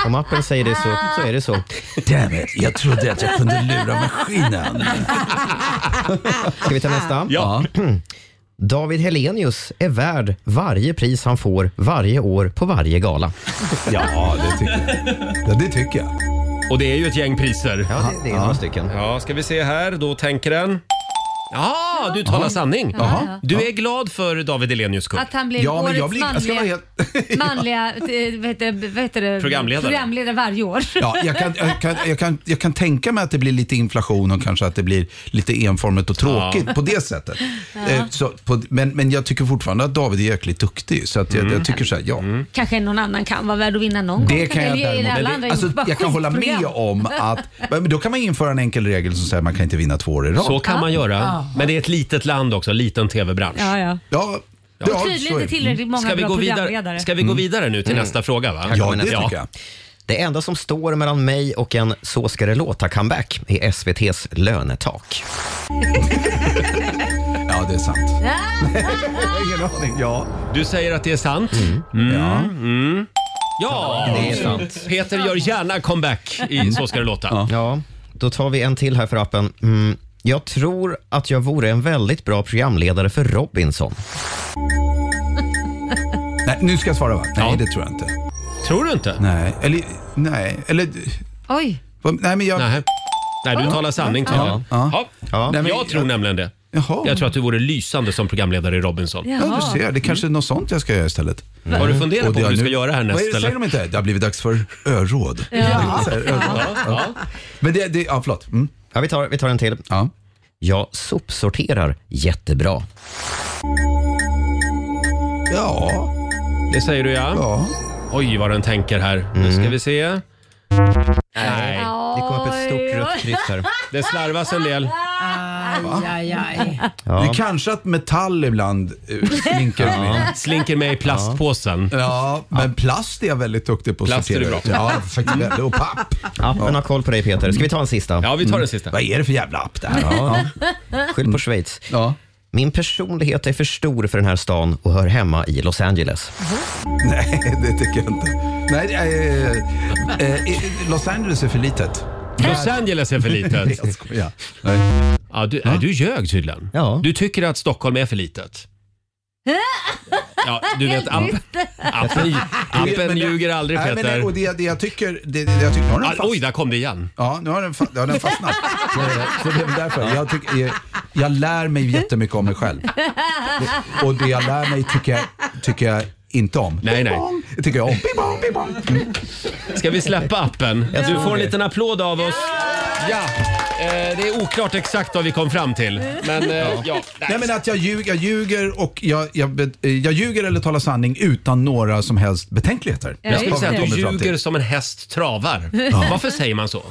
[SPEAKER 8] Om appen säger det så, så är det så.
[SPEAKER 11] Damn it, jag trodde att jag kunde lura maskinen.
[SPEAKER 8] Ska vi ta nästa? Ja. David Helenius är värd varje pris han får varje år på varje gala.
[SPEAKER 11] Ja, det tycker jag. Ja, det tycker jag.
[SPEAKER 1] Och det är ju ett gäng priser.
[SPEAKER 8] Ja, det, det är några stycken.
[SPEAKER 1] Ja, ska vi se här. Då tänker den. Ja, du talar
[SPEAKER 8] Ja.
[SPEAKER 1] sanning.
[SPEAKER 2] Jaha.
[SPEAKER 1] Du är glad för David Elenius skull.
[SPEAKER 2] Att han blev årets manliga, manliga eh, vad heter, det- vad heter det?
[SPEAKER 11] Programledare.
[SPEAKER 2] programledare varje år.
[SPEAKER 11] Ja, jag, kan, jag, kan, jag, kan, jag kan tänka mig att det blir lite inflation och kanske att det blir lite enformigt och tråkigt
[SPEAKER 2] Ja.
[SPEAKER 11] på det sättet.
[SPEAKER 2] Ja.
[SPEAKER 11] Eh, Så, på, men, men jag tycker fortfarande att David är jäkligt duktig. Så att jag,
[SPEAKER 1] Mm.
[SPEAKER 11] jag tycker så här, ja.
[SPEAKER 2] Kanske någon annan kan vara värd att vinna någon gång.
[SPEAKER 11] Det kan jag
[SPEAKER 2] Eller är det alla
[SPEAKER 11] däremot.
[SPEAKER 2] andra
[SPEAKER 11] Alltså,
[SPEAKER 2] gjort bara
[SPEAKER 11] jag kan hålla med
[SPEAKER 2] skitprogram?
[SPEAKER 11] om att men då kan man införa en enkel regel som säger att man kan inte vinna två år i rad.
[SPEAKER 1] Så kan man göra.
[SPEAKER 2] Ja.
[SPEAKER 1] Men det är ett litet land också, liten tv-bransch.
[SPEAKER 2] Ja, ja.
[SPEAKER 11] Ja,
[SPEAKER 2] Och tydligen inte tillräckligt många
[SPEAKER 1] ska vi
[SPEAKER 2] bra
[SPEAKER 1] gå
[SPEAKER 2] programledare.
[SPEAKER 1] vidare, Ska vi gå
[SPEAKER 8] Mm.
[SPEAKER 1] vidare nu till
[SPEAKER 8] Mm.
[SPEAKER 1] nästa fråga? Va?
[SPEAKER 8] Här kommer nästa. Det enda som står mellan mig och en Så ska det låta-comeback är SVTs lönetak.
[SPEAKER 11] ja, det är sant. Ingen aning. Ja.
[SPEAKER 1] Du säger att det är sant. Mm. Ja. Mm. Ja,
[SPEAKER 8] Det är sant.
[SPEAKER 1] Peter gör gärna comeback i Så ska det låta.
[SPEAKER 8] Ja. då tar vi en till här för appen. Mm, jag tror att jag vore en väldigt bra programledare för Robinson.
[SPEAKER 11] Nej, nu ska jag svara va? Nej, det tror jag inte.
[SPEAKER 1] Tror du inte?
[SPEAKER 11] Nej, eller... Nej, eller...
[SPEAKER 2] Oj.
[SPEAKER 11] vad- Nej, men jag...
[SPEAKER 1] Nej, nej du
[SPEAKER 11] Ja.
[SPEAKER 1] talar sanning Tobbe.
[SPEAKER 11] Ja. Ja.
[SPEAKER 1] Ja.
[SPEAKER 11] Nej, men-
[SPEAKER 1] Jag tror nämligen det. Jag tror att du vore lysande som programledare i Robinson.
[SPEAKER 11] Ja, du ser. Det kanske är något sånt jag ska göra istället.
[SPEAKER 1] Mm. Har du funderat
[SPEAKER 11] Och
[SPEAKER 1] på
[SPEAKER 11] det
[SPEAKER 1] vad du
[SPEAKER 11] jag
[SPEAKER 1] ska
[SPEAKER 11] nu-
[SPEAKER 1] göra
[SPEAKER 11] Vad
[SPEAKER 1] härnäst,
[SPEAKER 11] är det,
[SPEAKER 1] eller?
[SPEAKER 11] Säger de inte? Det har blivit dags för öråd.
[SPEAKER 8] Ja.
[SPEAKER 11] Så här, öråd.
[SPEAKER 8] Ja.
[SPEAKER 11] Ja. Men det, det, ja, förlåt. Mm.
[SPEAKER 8] Ja, vi, tar, vi tar en till.
[SPEAKER 11] Ja.
[SPEAKER 8] Jag sopsorterar jättebra.
[SPEAKER 11] Ja.
[SPEAKER 1] Det säger du ja. Oj vad den tänker här. Nu
[SPEAKER 11] Mm.
[SPEAKER 1] ska vi se. Nej,
[SPEAKER 2] det kom upp ett stort rött kryss här.
[SPEAKER 1] Det slarvas en del.
[SPEAKER 6] Aj, aj, aj.
[SPEAKER 11] Det är kanske att metall ibland eh, slinker
[SPEAKER 1] Ja.
[SPEAKER 11] med.
[SPEAKER 1] Slinker med i plastpåsen.
[SPEAKER 11] Ja, men plast är jag väldigt duktig på att
[SPEAKER 8] Plast är
[SPEAKER 11] sortera
[SPEAKER 8] du bra.
[SPEAKER 11] ut. Ja, faktiskt väldigt. Och papp.
[SPEAKER 8] Appen Mm. har koll på dig Peter. Ska vi ta en sista? Mm.
[SPEAKER 1] Ja, vi tar en sista.
[SPEAKER 11] Vad är det för jävla app det här?
[SPEAKER 8] Ja. Skyll på Schweiz. Min personlighet är för stor för den här stan och hör hemma i Los Angeles.
[SPEAKER 11] Nej, det tycker jag inte. Nej, eh, eh, eh, Los Angeles är för litet.
[SPEAKER 1] Los Angeles är för litet.
[SPEAKER 11] Jag skojar.
[SPEAKER 1] Ja, du, nej, du ljög tydligen. Du tycker att Stockholm är för litet. Ja, du vet, app, appen, appen ljuger aldrig
[SPEAKER 11] Nej, men det,
[SPEAKER 1] Peter.
[SPEAKER 11] och det, det jag tycker... Det, det jag tycker nu har den
[SPEAKER 1] Ah,
[SPEAKER 11] fast-
[SPEAKER 1] Oj, där kom det igen.
[SPEAKER 11] Ja, nu har den, fa- ja, den fastnat. Så, eh, så det är väl därför. Jag, tycker, jag, jag lär mig jättemycket om mig själv. Och det jag lär mig tycker jag, tycker jag inte om.
[SPEAKER 1] Nej, nej.
[SPEAKER 11] Det tycker jag om. Bing bong, bing bong.
[SPEAKER 1] Ska vi släppa appen?
[SPEAKER 11] Jag
[SPEAKER 1] Du
[SPEAKER 11] tror
[SPEAKER 1] får en
[SPEAKER 11] det.
[SPEAKER 1] liten applåd av oss. Ja, eh, det är oklart exakt vad vi kom fram till. Men eh, ja.
[SPEAKER 11] Nej, men att jag ljuger, jag ljuger och jag, jag, bet- eh, jag ljuger eller talar sanning utan några som helst betänkligheter.
[SPEAKER 1] Jag skulle
[SPEAKER 11] Har vi
[SPEAKER 1] säga att du
[SPEAKER 11] kommit fram till.
[SPEAKER 1] ljuger som en häst travar.
[SPEAKER 11] Ja.
[SPEAKER 1] Varför säger man så?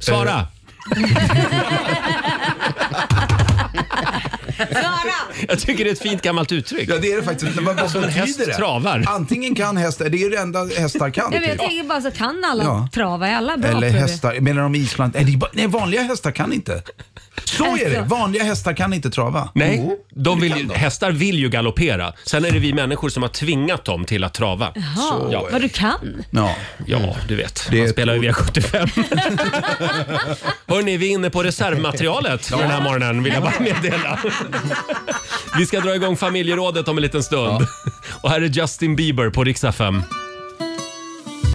[SPEAKER 1] Svara! Jag tycker det är ett fint gammalt uttryck.
[SPEAKER 11] Ja, det är det faktiskt. Men vad
[SPEAKER 1] Som en
[SPEAKER 11] betyder
[SPEAKER 1] häst
[SPEAKER 11] det?
[SPEAKER 1] travar.
[SPEAKER 11] Antingen kan hästar, det är det enda hästar kan.
[SPEAKER 2] Jag, vet, jag
[SPEAKER 11] typ.
[SPEAKER 2] tänker bara så kan alla
[SPEAKER 11] Ja.
[SPEAKER 2] trava? Är alla bra
[SPEAKER 11] Eller
[SPEAKER 2] på det?
[SPEAKER 11] hästar, menar de Island? Nej, det är bara- nej, vanliga hästar kan inte. Så är det,
[SPEAKER 2] Alltså.
[SPEAKER 11] vanliga hästar kan inte trava.
[SPEAKER 1] Nej,
[SPEAKER 11] Jo.
[SPEAKER 1] de vill, ju- hästar vill ju galoppera. Sen är det vi människor som har tvingat dem till att trava.
[SPEAKER 2] Jaha,
[SPEAKER 1] Ja.
[SPEAKER 2] vad du kan?
[SPEAKER 11] Ja.
[SPEAKER 1] ja, du vet. Man spelar ju V75. Hörni, vi är inne på reservmaterialet för den här morgonen vill jag bara meddela. Vi ska dra igång familjerådet om en liten stund. Och här är Justin Bieber på riksdag 5.
[SPEAKER 7] I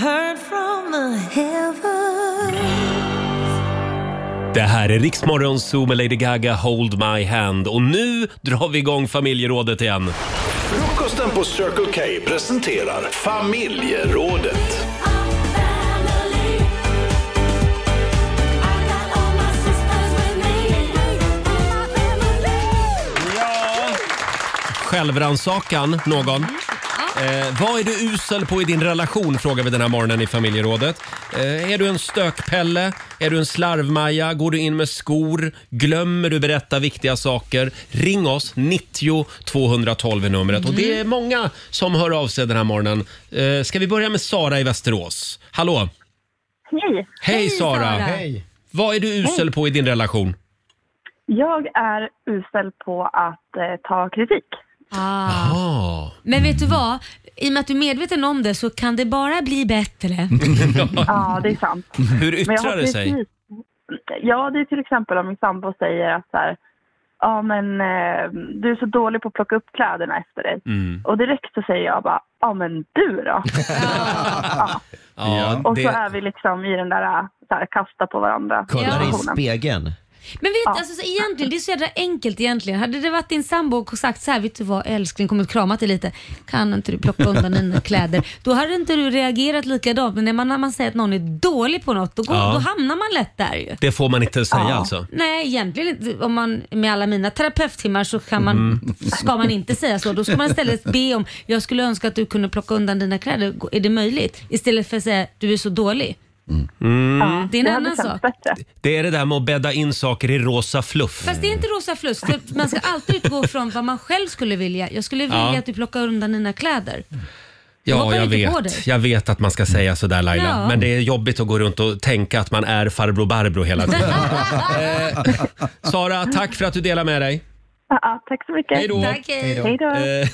[SPEAKER 7] heard from the heavens.
[SPEAKER 1] Det här är Riksmorgon Zoo med Lady Gaga, Hold My Hand. Och nu drar vi igång familjerådet igen.
[SPEAKER 4] Frukosten på Circle K presenterar familjerådet.
[SPEAKER 1] Självrannsakan, någon? Eh, vad är du usel på i din relation, frågar vi den här morgonen i familjerådet. Eh, är du en stökpelle? Är du en slarvmaja? Går du in med skor? Glömmer du berätta viktiga saker? Ring oss, 90 212 är numret. Och det är många som hör av sig den här morgonen. Eh, ska vi börja med Sara i Västerås? Hallå!
[SPEAKER 5] Hej!
[SPEAKER 1] Hej, Sara! Vad är du usel på i din relation?
[SPEAKER 5] Jag är usel på att eh, ta kritik.
[SPEAKER 2] Ah.
[SPEAKER 1] Ah.
[SPEAKER 2] Men vet du vad? I och med att du är medveten om det så kan det bara bli bättre.
[SPEAKER 11] Mm.
[SPEAKER 5] ja, det är sant.
[SPEAKER 1] liksom. Hur
[SPEAKER 5] Men jag har
[SPEAKER 1] yttrar det sig?
[SPEAKER 5] precis- Ja, det är till exempel om min sambo säger att så här, ja men eh, du är så dålig på att plocka upp kläderna efter dig.
[SPEAKER 1] Mm.
[SPEAKER 5] Och direkt så säger jag bara, ja men du då? ja.
[SPEAKER 8] Ja,
[SPEAKER 5] Och så
[SPEAKER 8] det-
[SPEAKER 5] är vi liksom i den där, eh, så här, kasta på varandra
[SPEAKER 8] Kollar i
[SPEAKER 5] situationen.
[SPEAKER 8] spegeln.
[SPEAKER 2] Men vet du, alltså, så egentligen, det är så jävla enkelt egentligen. Hade det varit din sambo och sagt så här, vet du vad älskling, kommit och kramat dig lite. Kan inte du plocka undan dina kläder? Då hade inte du reagerat likadant. Men när man, när man säger att någon är dålig på något, då, går,
[SPEAKER 1] Ja.
[SPEAKER 2] då hamnar man lätt där ju.
[SPEAKER 1] Det får man inte säga
[SPEAKER 2] Ja.
[SPEAKER 1] alltså?
[SPEAKER 2] Nej, egentligen inte. Om man, med alla mina terapeuttimmar så kan man,
[SPEAKER 1] Mm.
[SPEAKER 2] ska man inte säga så. Då ska man istället be om, jag skulle önska att du kunde plocka undan dina kläder. Är det möjligt? Istället för att säga, du är så dålig.
[SPEAKER 1] Mm.
[SPEAKER 2] Det är en
[SPEAKER 5] det hade
[SPEAKER 2] annan
[SPEAKER 5] känts
[SPEAKER 2] sak.
[SPEAKER 1] Det är det där med att bädda in saker i rosa fluff.
[SPEAKER 2] Fast det är inte rosa fluss. Det- Man ska alltid utgå från vad man själv skulle vilja. Jag skulle vilja
[SPEAKER 1] Ja.
[SPEAKER 2] att du plockar undan dina kläder.
[SPEAKER 1] Ja,
[SPEAKER 2] hoppar
[SPEAKER 1] jag
[SPEAKER 2] lite på dig.
[SPEAKER 1] vet. Jag vet att man ska säga sådär Laila.
[SPEAKER 2] Ja.
[SPEAKER 1] Men det är jobbigt att gå runt och tänka att man är farbror Barbro hela tiden. eh, Sara, tack för att du delar med dig.
[SPEAKER 5] Ja, tack så mycket.
[SPEAKER 1] Hej då.
[SPEAKER 2] Tack, hej.
[SPEAKER 5] Hej då.
[SPEAKER 1] Eh,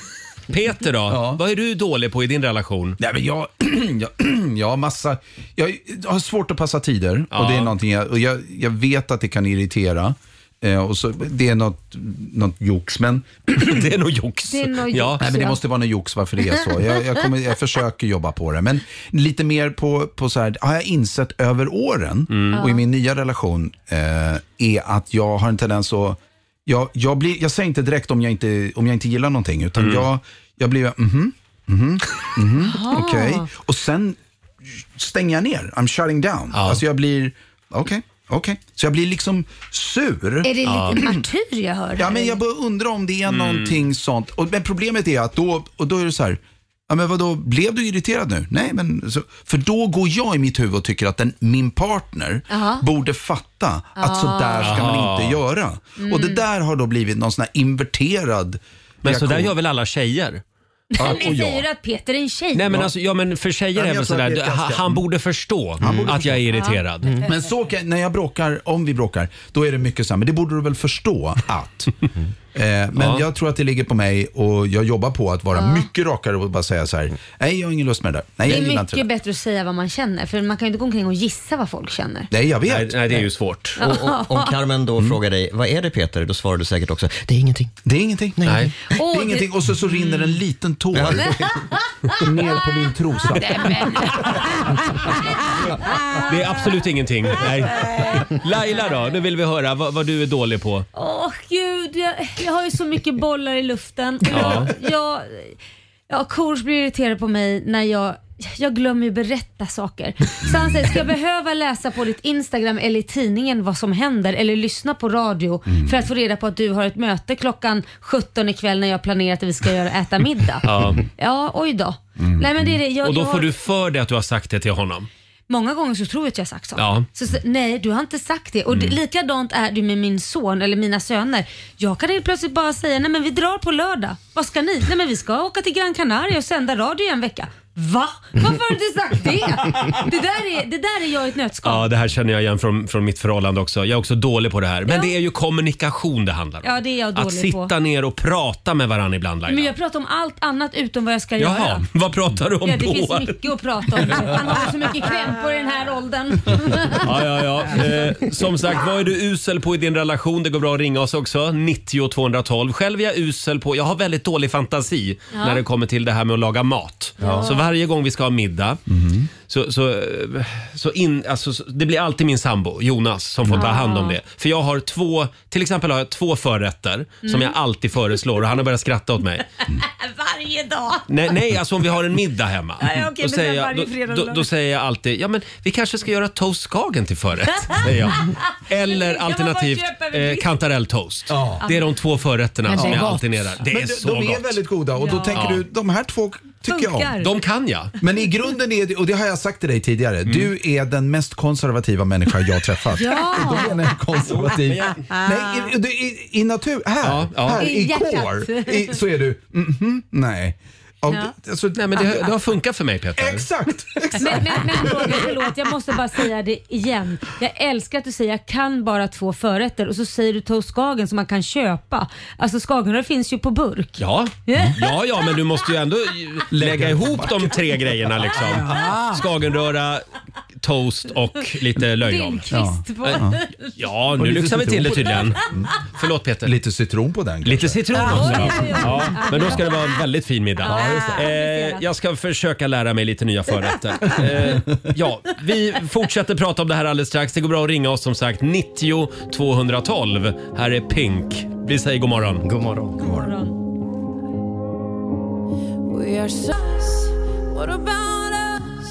[SPEAKER 1] Peter då, vad är du dålig på i din relation?
[SPEAKER 11] Nej, men jag, jag, jag har massa... Jag har svårt att passa tider och det är någonting jag, och jag, jag vet att det kan irritera. Eh, och så, det är något, något jox, men...
[SPEAKER 1] det är nog jox.
[SPEAKER 2] Det är nog jox,
[SPEAKER 11] Nej, men det
[SPEAKER 2] ja.
[SPEAKER 11] måste vara något jox varför det är så. Jag, jag, kommer, jag försöker jobba på det. Men lite mer på, på så här, har jag insett över åren och i min nya relation eh, är att jag har en tendens att... Jag, jag, blir, jag säger inte direkt om jag inte, om jag inte gillar någonting, utan
[SPEAKER 13] Mm.
[SPEAKER 11] jag, jag blir mhm, mhm, mhm,
[SPEAKER 13] Jaha.
[SPEAKER 11] okej. Och sen stänger jag ner. I'm shutting down. Alltså jag blir, okej, okej. Så jag blir liksom sur.
[SPEAKER 2] Är det lite martyr jag hör? Mm.
[SPEAKER 11] Ja,
[SPEAKER 2] här?
[SPEAKER 11] men jag bara undrar om det är
[SPEAKER 1] Mm.
[SPEAKER 11] någonting sånt. Och, men problemet är att då, och då är det så här, ja men vadå, blev du irriterad nu? Nej, men så, för då går jag i mitt huvud och tycker att den, min partner
[SPEAKER 13] Aha.
[SPEAKER 11] borde fatta att så där ska man
[SPEAKER 1] Aha.
[SPEAKER 11] inte göra. Och det
[SPEAKER 1] Mm.
[SPEAKER 11] där har då blivit någon sån här inverterad
[SPEAKER 1] Men så där
[SPEAKER 11] reaktion.
[SPEAKER 1] gör väl alla tjejer?
[SPEAKER 2] Men vi säger att Peter är en tjej.
[SPEAKER 1] Nej men alltså, ja men för tjejer
[SPEAKER 11] Nej, men
[SPEAKER 1] är
[SPEAKER 11] jag
[SPEAKER 1] väl
[SPEAKER 11] tror att
[SPEAKER 1] sådär,
[SPEAKER 11] det är ett
[SPEAKER 1] ha-
[SPEAKER 11] ganska-
[SPEAKER 1] han borde förstå att jag är irriterad.
[SPEAKER 11] Mm. Men så kan, när jag bråkar, om vi bråkar, då är det mycket så här, men det borde du väl förstå att. Eh, men
[SPEAKER 1] Ja.
[SPEAKER 11] jag tror att det ligger på mig och jag jobbar på att vara mycket rakare och bara säga så här, nej jag har ingen lust med det där. Nej,
[SPEAKER 2] det
[SPEAKER 11] jag
[SPEAKER 2] är
[SPEAKER 11] gillar inte det
[SPEAKER 2] mycket
[SPEAKER 11] där.
[SPEAKER 2] bättre att säga vad man känner för man kan ju inte gå omkring och gissa vad folk känner.
[SPEAKER 11] Nej, jag vet.
[SPEAKER 8] Nej,
[SPEAKER 1] det är ju svårt.
[SPEAKER 8] Och, och, om Carmen då frågar dig, vad är det Peter? Då svarar du säkert också, det är ingenting.
[SPEAKER 11] Det är ingenting.
[SPEAKER 8] Nej.
[SPEAKER 11] Det är ingenting och så, så rinner en liten tår
[SPEAKER 2] Mm.
[SPEAKER 11] ner på min trosa.
[SPEAKER 1] Det är absolut ingenting. Nej. Laila då, nu vill vi höra vad, vad du är dålig på.
[SPEAKER 2] Åh gud, jag, jag har ju så mycket bollar i luften. Och
[SPEAKER 1] Ja.
[SPEAKER 2] Jag, jag, ja, Kors blir irriterad på mig när jag jag glömmer ju berätta saker. Så han säger, ska jag behöva läsa på ditt Instagram eller i tidningen vad som händer eller lyssna på radio
[SPEAKER 1] Mm.
[SPEAKER 2] för att få reda på att du har ett möte klockan 17 ikväll när jag planerat att vi ska göra äta middag?
[SPEAKER 1] Ja. Mm.
[SPEAKER 2] Ja, oj då. Nej, men det är det. Jag,
[SPEAKER 1] Och då
[SPEAKER 2] jag,
[SPEAKER 1] får du för dig att du har sagt det till honom.
[SPEAKER 2] Många gånger så tror jag att jag har sagt saker.
[SPEAKER 1] Ja.
[SPEAKER 2] Så, så, nej, du har inte sagt det. Och det,
[SPEAKER 1] Mm.
[SPEAKER 2] likadant är det med min son eller mina söner. Jag kan helt plötsligt bara säga, nej men vi drar på lördag. Vad ska ni? Nej men vi ska åka till Gran Canaria och sända radio i en vecka. Va? Varför har du inte sagt det? Det där är, det där är jag i ett nötskal.
[SPEAKER 1] Ja, det här känner jag igen från, från mitt förhållande också. Jag är också dålig på det här. Men det är ju kommunikation det handlar om.
[SPEAKER 2] Ja, det är jag dålig
[SPEAKER 1] att sitta
[SPEAKER 2] på.
[SPEAKER 1] ner och prata med varandra ibland Laila.
[SPEAKER 2] Men jag pratar om allt annat utom vad jag ska göra.
[SPEAKER 1] Jaha, vad pratar du om
[SPEAKER 2] Ja, det
[SPEAKER 1] då?
[SPEAKER 2] finns mycket att prata om. Han har så mycket krämpor i den här åldern.
[SPEAKER 1] Ja, ja, ja. Eh, som sagt, vad är du usel på i din relation? Det går bra att ringa oss också. 90 212. Själv är jag usel på, jag har väldigt dålig fantasi
[SPEAKER 10] Ja.
[SPEAKER 1] när det kommer till det här med att laga mat.
[SPEAKER 10] Ja.
[SPEAKER 1] Så varje gång vi ska ha middag så, så, eh, så in, alltså, så- det blir alltid min sambo Jonas som får ta
[SPEAKER 10] Ja.
[SPEAKER 1] hand om det. För jag har två, till exempel har jag två förrätter som
[SPEAKER 2] Mm.
[SPEAKER 1] jag alltid föreslår och han har börjat skratta åt mig.
[SPEAKER 2] Varje dag.
[SPEAKER 1] Nej, nej, alltså om vi har en middag hemma.
[SPEAKER 2] Ja, ja, okej,
[SPEAKER 1] då,
[SPEAKER 2] men
[SPEAKER 1] säger
[SPEAKER 2] sen
[SPEAKER 1] jag,
[SPEAKER 2] varje fredag
[SPEAKER 1] då,
[SPEAKER 2] och
[SPEAKER 1] då,
[SPEAKER 2] lördag.
[SPEAKER 1] då säger jag alltid, ja men vi kanske ska göra toast skagen till förrätt. säger jag. Eller
[SPEAKER 13] man
[SPEAKER 1] alternativt
[SPEAKER 13] bara köpa en
[SPEAKER 1] eh,
[SPEAKER 13] viss-
[SPEAKER 1] kantarelltoast. Det är de två förrätterna
[SPEAKER 11] Men
[SPEAKER 1] som
[SPEAKER 11] det är
[SPEAKER 1] jag
[SPEAKER 11] gott.
[SPEAKER 1] alltid nerar. Det är
[SPEAKER 11] Men de-
[SPEAKER 1] så
[SPEAKER 11] de är
[SPEAKER 1] gott.
[SPEAKER 11] väldigt goda och då
[SPEAKER 1] Ja.
[SPEAKER 11] tänker
[SPEAKER 1] Ja.
[SPEAKER 11] du, de här två tycker jag
[SPEAKER 1] Funkar.
[SPEAKER 11] om.
[SPEAKER 1] De kan jag. Mm.
[SPEAKER 11] Men i grunden är det, och det har jag sagt till dig tidigare, du är den mest konservativa människa jag har träffat.
[SPEAKER 13] Ja.
[SPEAKER 11] Då menar jag konservativ.
[SPEAKER 13] Ja.
[SPEAKER 11] Nej, i, i, i- i natur, här,
[SPEAKER 13] ja.
[SPEAKER 11] här
[SPEAKER 13] I
[SPEAKER 11] i,
[SPEAKER 13] hjärtat.
[SPEAKER 11] core, i, så är du, mhm, nej. Av-
[SPEAKER 2] Ja.
[SPEAKER 11] alltså-
[SPEAKER 1] Nej, men det, har- det har funkat för mig Peter.
[SPEAKER 11] Exakt!
[SPEAKER 2] Men, men, men Roger, förlåt, jag måste bara säga det igen. Jag älskar att du säger jag kan bara två förrätter och så säger du toast skagen som man kan köpa. Alltså skagenröra finns ju på burk.
[SPEAKER 1] Ja.
[SPEAKER 11] Mm.
[SPEAKER 1] ja, ja, men du måste ju ändå lägga ihop de tre grejerna liksom.
[SPEAKER 2] Ja.
[SPEAKER 1] Skagenröra, toast och lite löjrom.
[SPEAKER 2] Lindqvist på.
[SPEAKER 1] Ja. Ja,
[SPEAKER 11] Och
[SPEAKER 1] nu
[SPEAKER 11] lite
[SPEAKER 1] lyxar vi till det
[SPEAKER 11] citron.
[SPEAKER 1] tydligen. Förlåt Peter.
[SPEAKER 11] Lite citron på den.
[SPEAKER 1] Lite citron
[SPEAKER 11] Ja,
[SPEAKER 1] också.
[SPEAKER 11] oj, oj, oj.
[SPEAKER 1] Ja, men då ska det vara en väldigt fin middag.
[SPEAKER 11] Ja,
[SPEAKER 1] eh, jag ska försöka lära mig lite nya förrätter. Eh, ja, vi fortsätter prata om det här alldeles strax. Det går bra att ringa oss som sagt. 90 212. Här är Pink. Vi säger god morgon. God morgon. God morgon.
[SPEAKER 7] We are sus. What about us?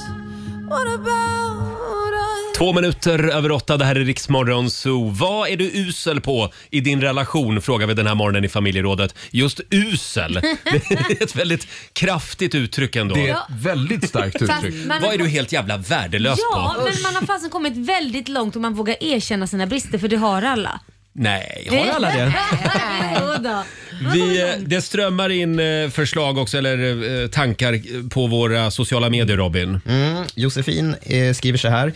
[SPEAKER 7] What about us?
[SPEAKER 1] Två minuter över åtta, det här är Riksmorgon Zoo. Vad är du usel på i din relation? Frågar vi den här morgonen i familjerådet. Just usel, det är ett väldigt kraftigt uttryck ändå.
[SPEAKER 2] Det är ett
[SPEAKER 11] väldigt starkt
[SPEAKER 2] Fast uttryck. man-
[SPEAKER 1] Vad är du helt jävla värdelös
[SPEAKER 2] Ja,
[SPEAKER 1] på?
[SPEAKER 2] men man har fasen kommit väldigt långt om man vågar erkänna sina brister för det har alla.
[SPEAKER 1] Nej, har alla det?
[SPEAKER 2] Jodå.
[SPEAKER 1] Vi, eh, det strömmar in eh, förslag också, eller eh, tankar eh, på våra sociala medier, Robin.
[SPEAKER 8] Mm, Josefin eh, skriver så här.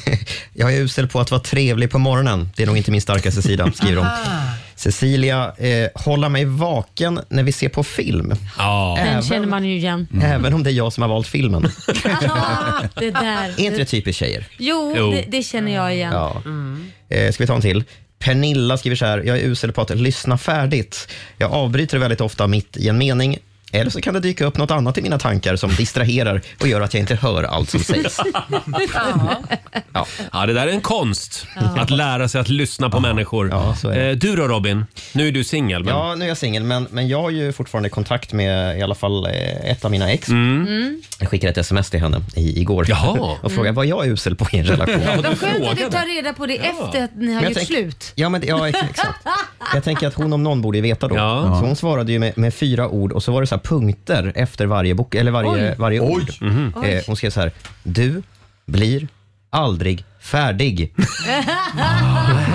[SPEAKER 8] jag är usel på att vara trevlig på morgonen. Det är nog inte min starkaste sida, skriver hon.
[SPEAKER 11] Ah.
[SPEAKER 8] Cecilia, eh, hålla mig vaken när vi ser på film.
[SPEAKER 2] Den känner
[SPEAKER 8] Även,
[SPEAKER 2] man ju igen.
[SPEAKER 8] även om det är jag som har valt filmen.
[SPEAKER 11] Mm.
[SPEAKER 2] Det där.
[SPEAKER 8] är inte det typiskt tjejer?
[SPEAKER 2] Jo,
[SPEAKER 8] Jo.
[SPEAKER 2] Det, det känner jag igen. Mm.
[SPEAKER 8] Ja. Eh, ska vi ta en till? Pernilla skriver så här, jag är usel på att lyssna färdigt. Jag avbryter väldigt ofta mitt i en mening. Eller så kan det dyka upp något annat i mina tankar som distraherar och gör att jag inte hör allt som sägs.
[SPEAKER 1] Ja. det där är en konst. Att lära sig att lyssna på människor. Eh, Du då Robin, nu är du singel. men-
[SPEAKER 8] Ja, nu är jag singel, men, men jag har ju fortfarande kontakt med i alla fall eh, ett av mina ex.
[SPEAKER 2] Mm.
[SPEAKER 8] Jag skickade ett sms till henne i, igår
[SPEAKER 1] Jaha. Mm.
[SPEAKER 8] och frågade vad jag är usel på i en relation.
[SPEAKER 2] Vad skönt att du tar reda på det efter att ni
[SPEAKER 8] Men
[SPEAKER 2] har
[SPEAKER 8] jag
[SPEAKER 2] gjort
[SPEAKER 8] tänk-
[SPEAKER 2] slut.
[SPEAKER 8] Ja, men, ja, ex- exakt. Jag tänker att hon om någon borde ju veta då. Så hon svarade ju med, med fyra ord och så var det så här punkter efter varje, bok, eller varje,
[SPEAKER 15] Oj.
[SPEAKER 8] varje
[SPEAKER 15] Oj.
[SPEAKER 8] ord.
[SPEAKER 15] Mhm. Oj.
[SPEAKER 8] Eh, hon skrev så här, du blir aldrig färdig.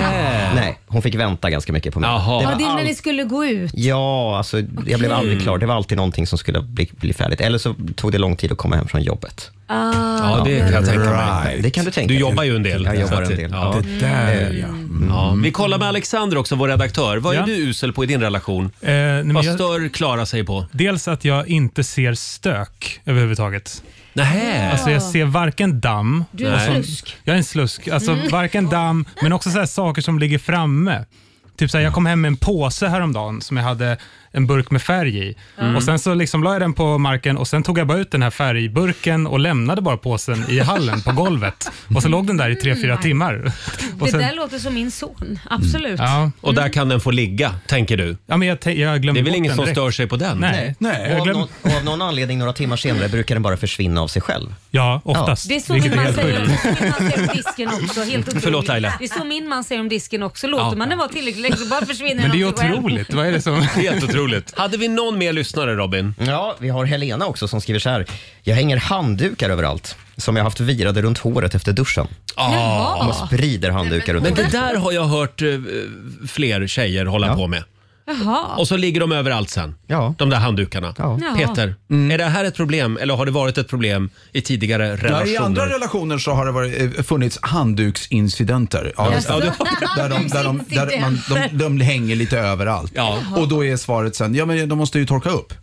[SPEAKER 2] Eh.
[SPEAKER 8] Nej, hon fick vänta ganska mycket på mig.
[SPEAKER 2] Det,
[SPEAKER 8] var
[SPEAKER 2] ja, det är när
[SPEAKER 8] allt-
[SPEAKER 2] ni skulle gå ut.
[SPEAKER 8] Ja, alltså, jag blev aldrig klar. Det var alltid någonting som skulle bli, bli färdigt. Eller så tog det lång tid att komma hem från jobbet.
[SPEAKER 2] Ah.
[SPEAKER 1] Ja, det kan jag tänka mig.
[SPEAKER 8] Det kan du tänka
[SPEAKER 1] Du
[SPEAKER 8] dig.
[SPEAKER 1] jobbar ju en del.
[SPEAKER 8] Jag jobbar
[SPEAKER 1] Så att-
[SPEAKER 8] en del.
[SPEAKER 1] Ja.
[SPEAKER 8] Det där, ja.
[SPEAKER 1] Ja. Vi kollar med Alexander också, vår redaktör. Vad är
[SPEAKER 9] Ja.
[SPEAKER 1] du usel på i din relation?
[SPEAKER 9] Eh, nej, men
[SPEAKER 1] Vad
[SPEAKER 9] jag-
[SPEAKER 1] stör Klara sig på?
[SPEAKER 9] Dels att jag inte ser stök överhuvudtaget.
[SPEAKER 1] Nähä.
[SPEAKER 9] Alltså jag ser varken damm.
[SPEAKER 1] Du är en
[SPEAKER 9] och sån-
[SPEAKER 1] slusk.
[SPEAKER 9] Jag är en slusk. Alltså
[SPEAKER 1] Mm.
[SPEAKER 9] varken damm, men också så här saker som ligger framme. Typ så här, jag kom hem med en påse häromdagen som jag hade en burk med färg i.
[SPEAKER 1] Mm.
[SPEAKER 9] Och Sen så liksom la jag den på marken och sen tog jag bara ut den här färgburken och lämnade bara påsen i hallen på golvet. Och så låg den där i tre,
[SPEAKER 1] Mm.
[SPEAKER 9] fyra timmar. Och
[SPEAKER 2] Det
[SPEAKER 9] sen,
[SPEAKER 2] där låter som min son. Absolut.
[SPEAKER 9] ja.
[SPEAKER 1] Och där kan den få ligga, tänker du?
[SPEAKER 9] Ja, men jag, tän- jag glömde
[SPEAKER 1] Det är väl
[SPEAKER 9] bort
[SPEAKER 1] ingen
[SPEAKER 9] den
[SPEAKER 1] som
[SPEAKER 9] direkt.
[SPEAKER 1] stör sig på den?
[SPEAKER 9] Nej. Nej,
[SPEAKER 8] Och
[SPEAKER 9] jag
[SPEAKER 8] av,
[SPEAKER 9] glöm-
[SPEAKER 8] någon, och av någon anledning några timmar senare brukar den bara försvinna av sig själv.
[SPEAKER 9] Ja, oftast.
[SPEAKER 2] Det är så min man säger om
[SPEAKER 8] sjukt.
[SPEAKER 2] om disken också. Helt otroligt.
[SPEAKER 8] Förlåt, Laila.
[SPEAKER 2] Det är så min man säger om disken också. Låter
[SPEAKER 1] Ja.
[SPEAKER 2] man den vara tillräckligt länge så bara försvinner
[SPEAKER 1] Men det är
[SPEAKER 2] den av sig själv.
[SPEAKER 9] otroligt. Vad är det som...
[SPEAKER 1] Helt otroligt. Hade vi någon mer lyssnare Robin?
[SPEAKER 8] Ja, vi har Helena också som skriver så här. Jag hänger handdukar överallt som jag haft virade runt håret efter duschen.
[SPEAKER 1] Jaha.
[SPEAKER 8] Och sprider handdukar runt
[SPEAKER 1] Men det
[SPEAKER 8] håret.
[SPEAKER 1] där har jag hört eh, fler tjejer hålla på med.
[SPEAKER 2] Jaha.
[SPEAKER 1] Och så ligger de överallt sen, de där handdukarna.
[SPEAKER 2] Ja.
[SPEAKER 1] Peter, är det här ett problem eller har det varit ett problem i tidigare
[SPEAKER 11] Ja, I andra
[SPEAKER 1] relationer?
[SPEAKER 11] relationer så har det varit, eh, funnits handduksincidenter. Ja,
[SPEAKER 1] Jaså?
[SPEAKER 11] ja, det- där de, där de, där man, de, de hänger lite överallt. Och då är svaret sen, ja men de måste ju torka upp.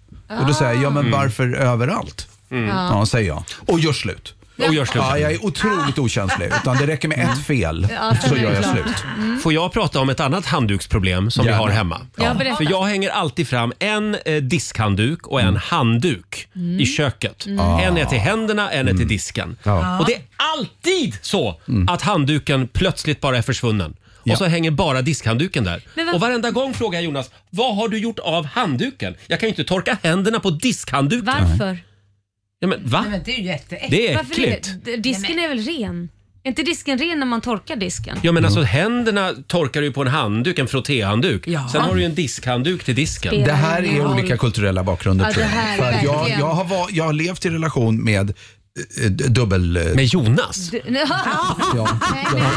[SPEAKER 11] Och då säger jag, ja
[SPEAKER 1] Ah. Mm.
[SPEAKER 11] men varför överallt?
[SPEAKER 2] Ja.
[SPEAKER 11] Ja, säger jag. Och gör slut.
[SPEAKER 1] Och gör slut. Mm.
[SPEAKER 11] Ja, jag är otroligt okänslig. Utan det räcker med ett fel
[SPEAKER 2] Ja,
[SPEAKER 11] så gör jag
[SPEAKER 2] klart.
[SPEAKER 11] slut.
[SPEAKER 2] Mm.
[SPEAKER 1] Får jag prata om ett annat handduksproblem som vi
[SPEAKER 11] Gärna.
[SPEAKER 1] har hemma?
[SPEAKER 2] Ja, berätta.
[SPEAKER 1] För jag hänger alltid fram en eh, diskhandduk och en handduk
[SPEAKER 2] Mm.
[SPEAKER 1] i köket.
[SPEAKER 2] Mm.
[SPEAKER 11] Ah.
[SPEAKER 1] En är till händerna, en
[SPEAKER 11] Mm.
[SPEAKER 1] är till disken.
[SPEAKER 2] Ja.
[SPEAKER 1] Och det är alltid så att handduken plötsligt bara är försvunnen. Och så hänger bara diskhandduken där.
[SPEAKER 2] Men vad-
[SPEAKER 1] Och varenda gång frågar jag Jonas, vad har du gjort av handduken? Jag kan ju inte torka händerna på diskhandduken.
[SPEAKER 2] Varför?
[SPEAKER 1] Ja, men, va?
[SPEAKER 16] det är ju jätteäckligt.
[SPEAKER 1] Det är
[SPEAKER 2] Varför är
[SPEAKER 1] äckligt.
[SPEAKER 2] det? D- Disken är väl ren? Är inte disken ren när man torkar disken?
[SPEAKER 1] Ja men alltså
[SPEAKER 11] Mm.
[SPEAKER 1] händerna torkar du ju på en handduk, en frottéhandduk.
[SPEAKER 2] Ja.
[SPEAKER 1] Sen har du ju en diskhandduk till disken.
[SPEAKER 11] Det här är olika kulturella bakgrunder
[SPEAKER 1] Ja,
[SPEAKER 11] tror
[SPEAKER 1] det
[SPEAKER 11] jag.
[SPEAKER 1] här
[SPEAKER 11] För att jag,
[SPEAKER 1] verkligen.
[SPEAKER 11] jag, har var, jag har levt i relation med eh, eh, dubbel... eh,
[SPEAKER 1] Med Jonas?
[SPEAKER 2] Du, nej,
[SPEAKER 11] Ja.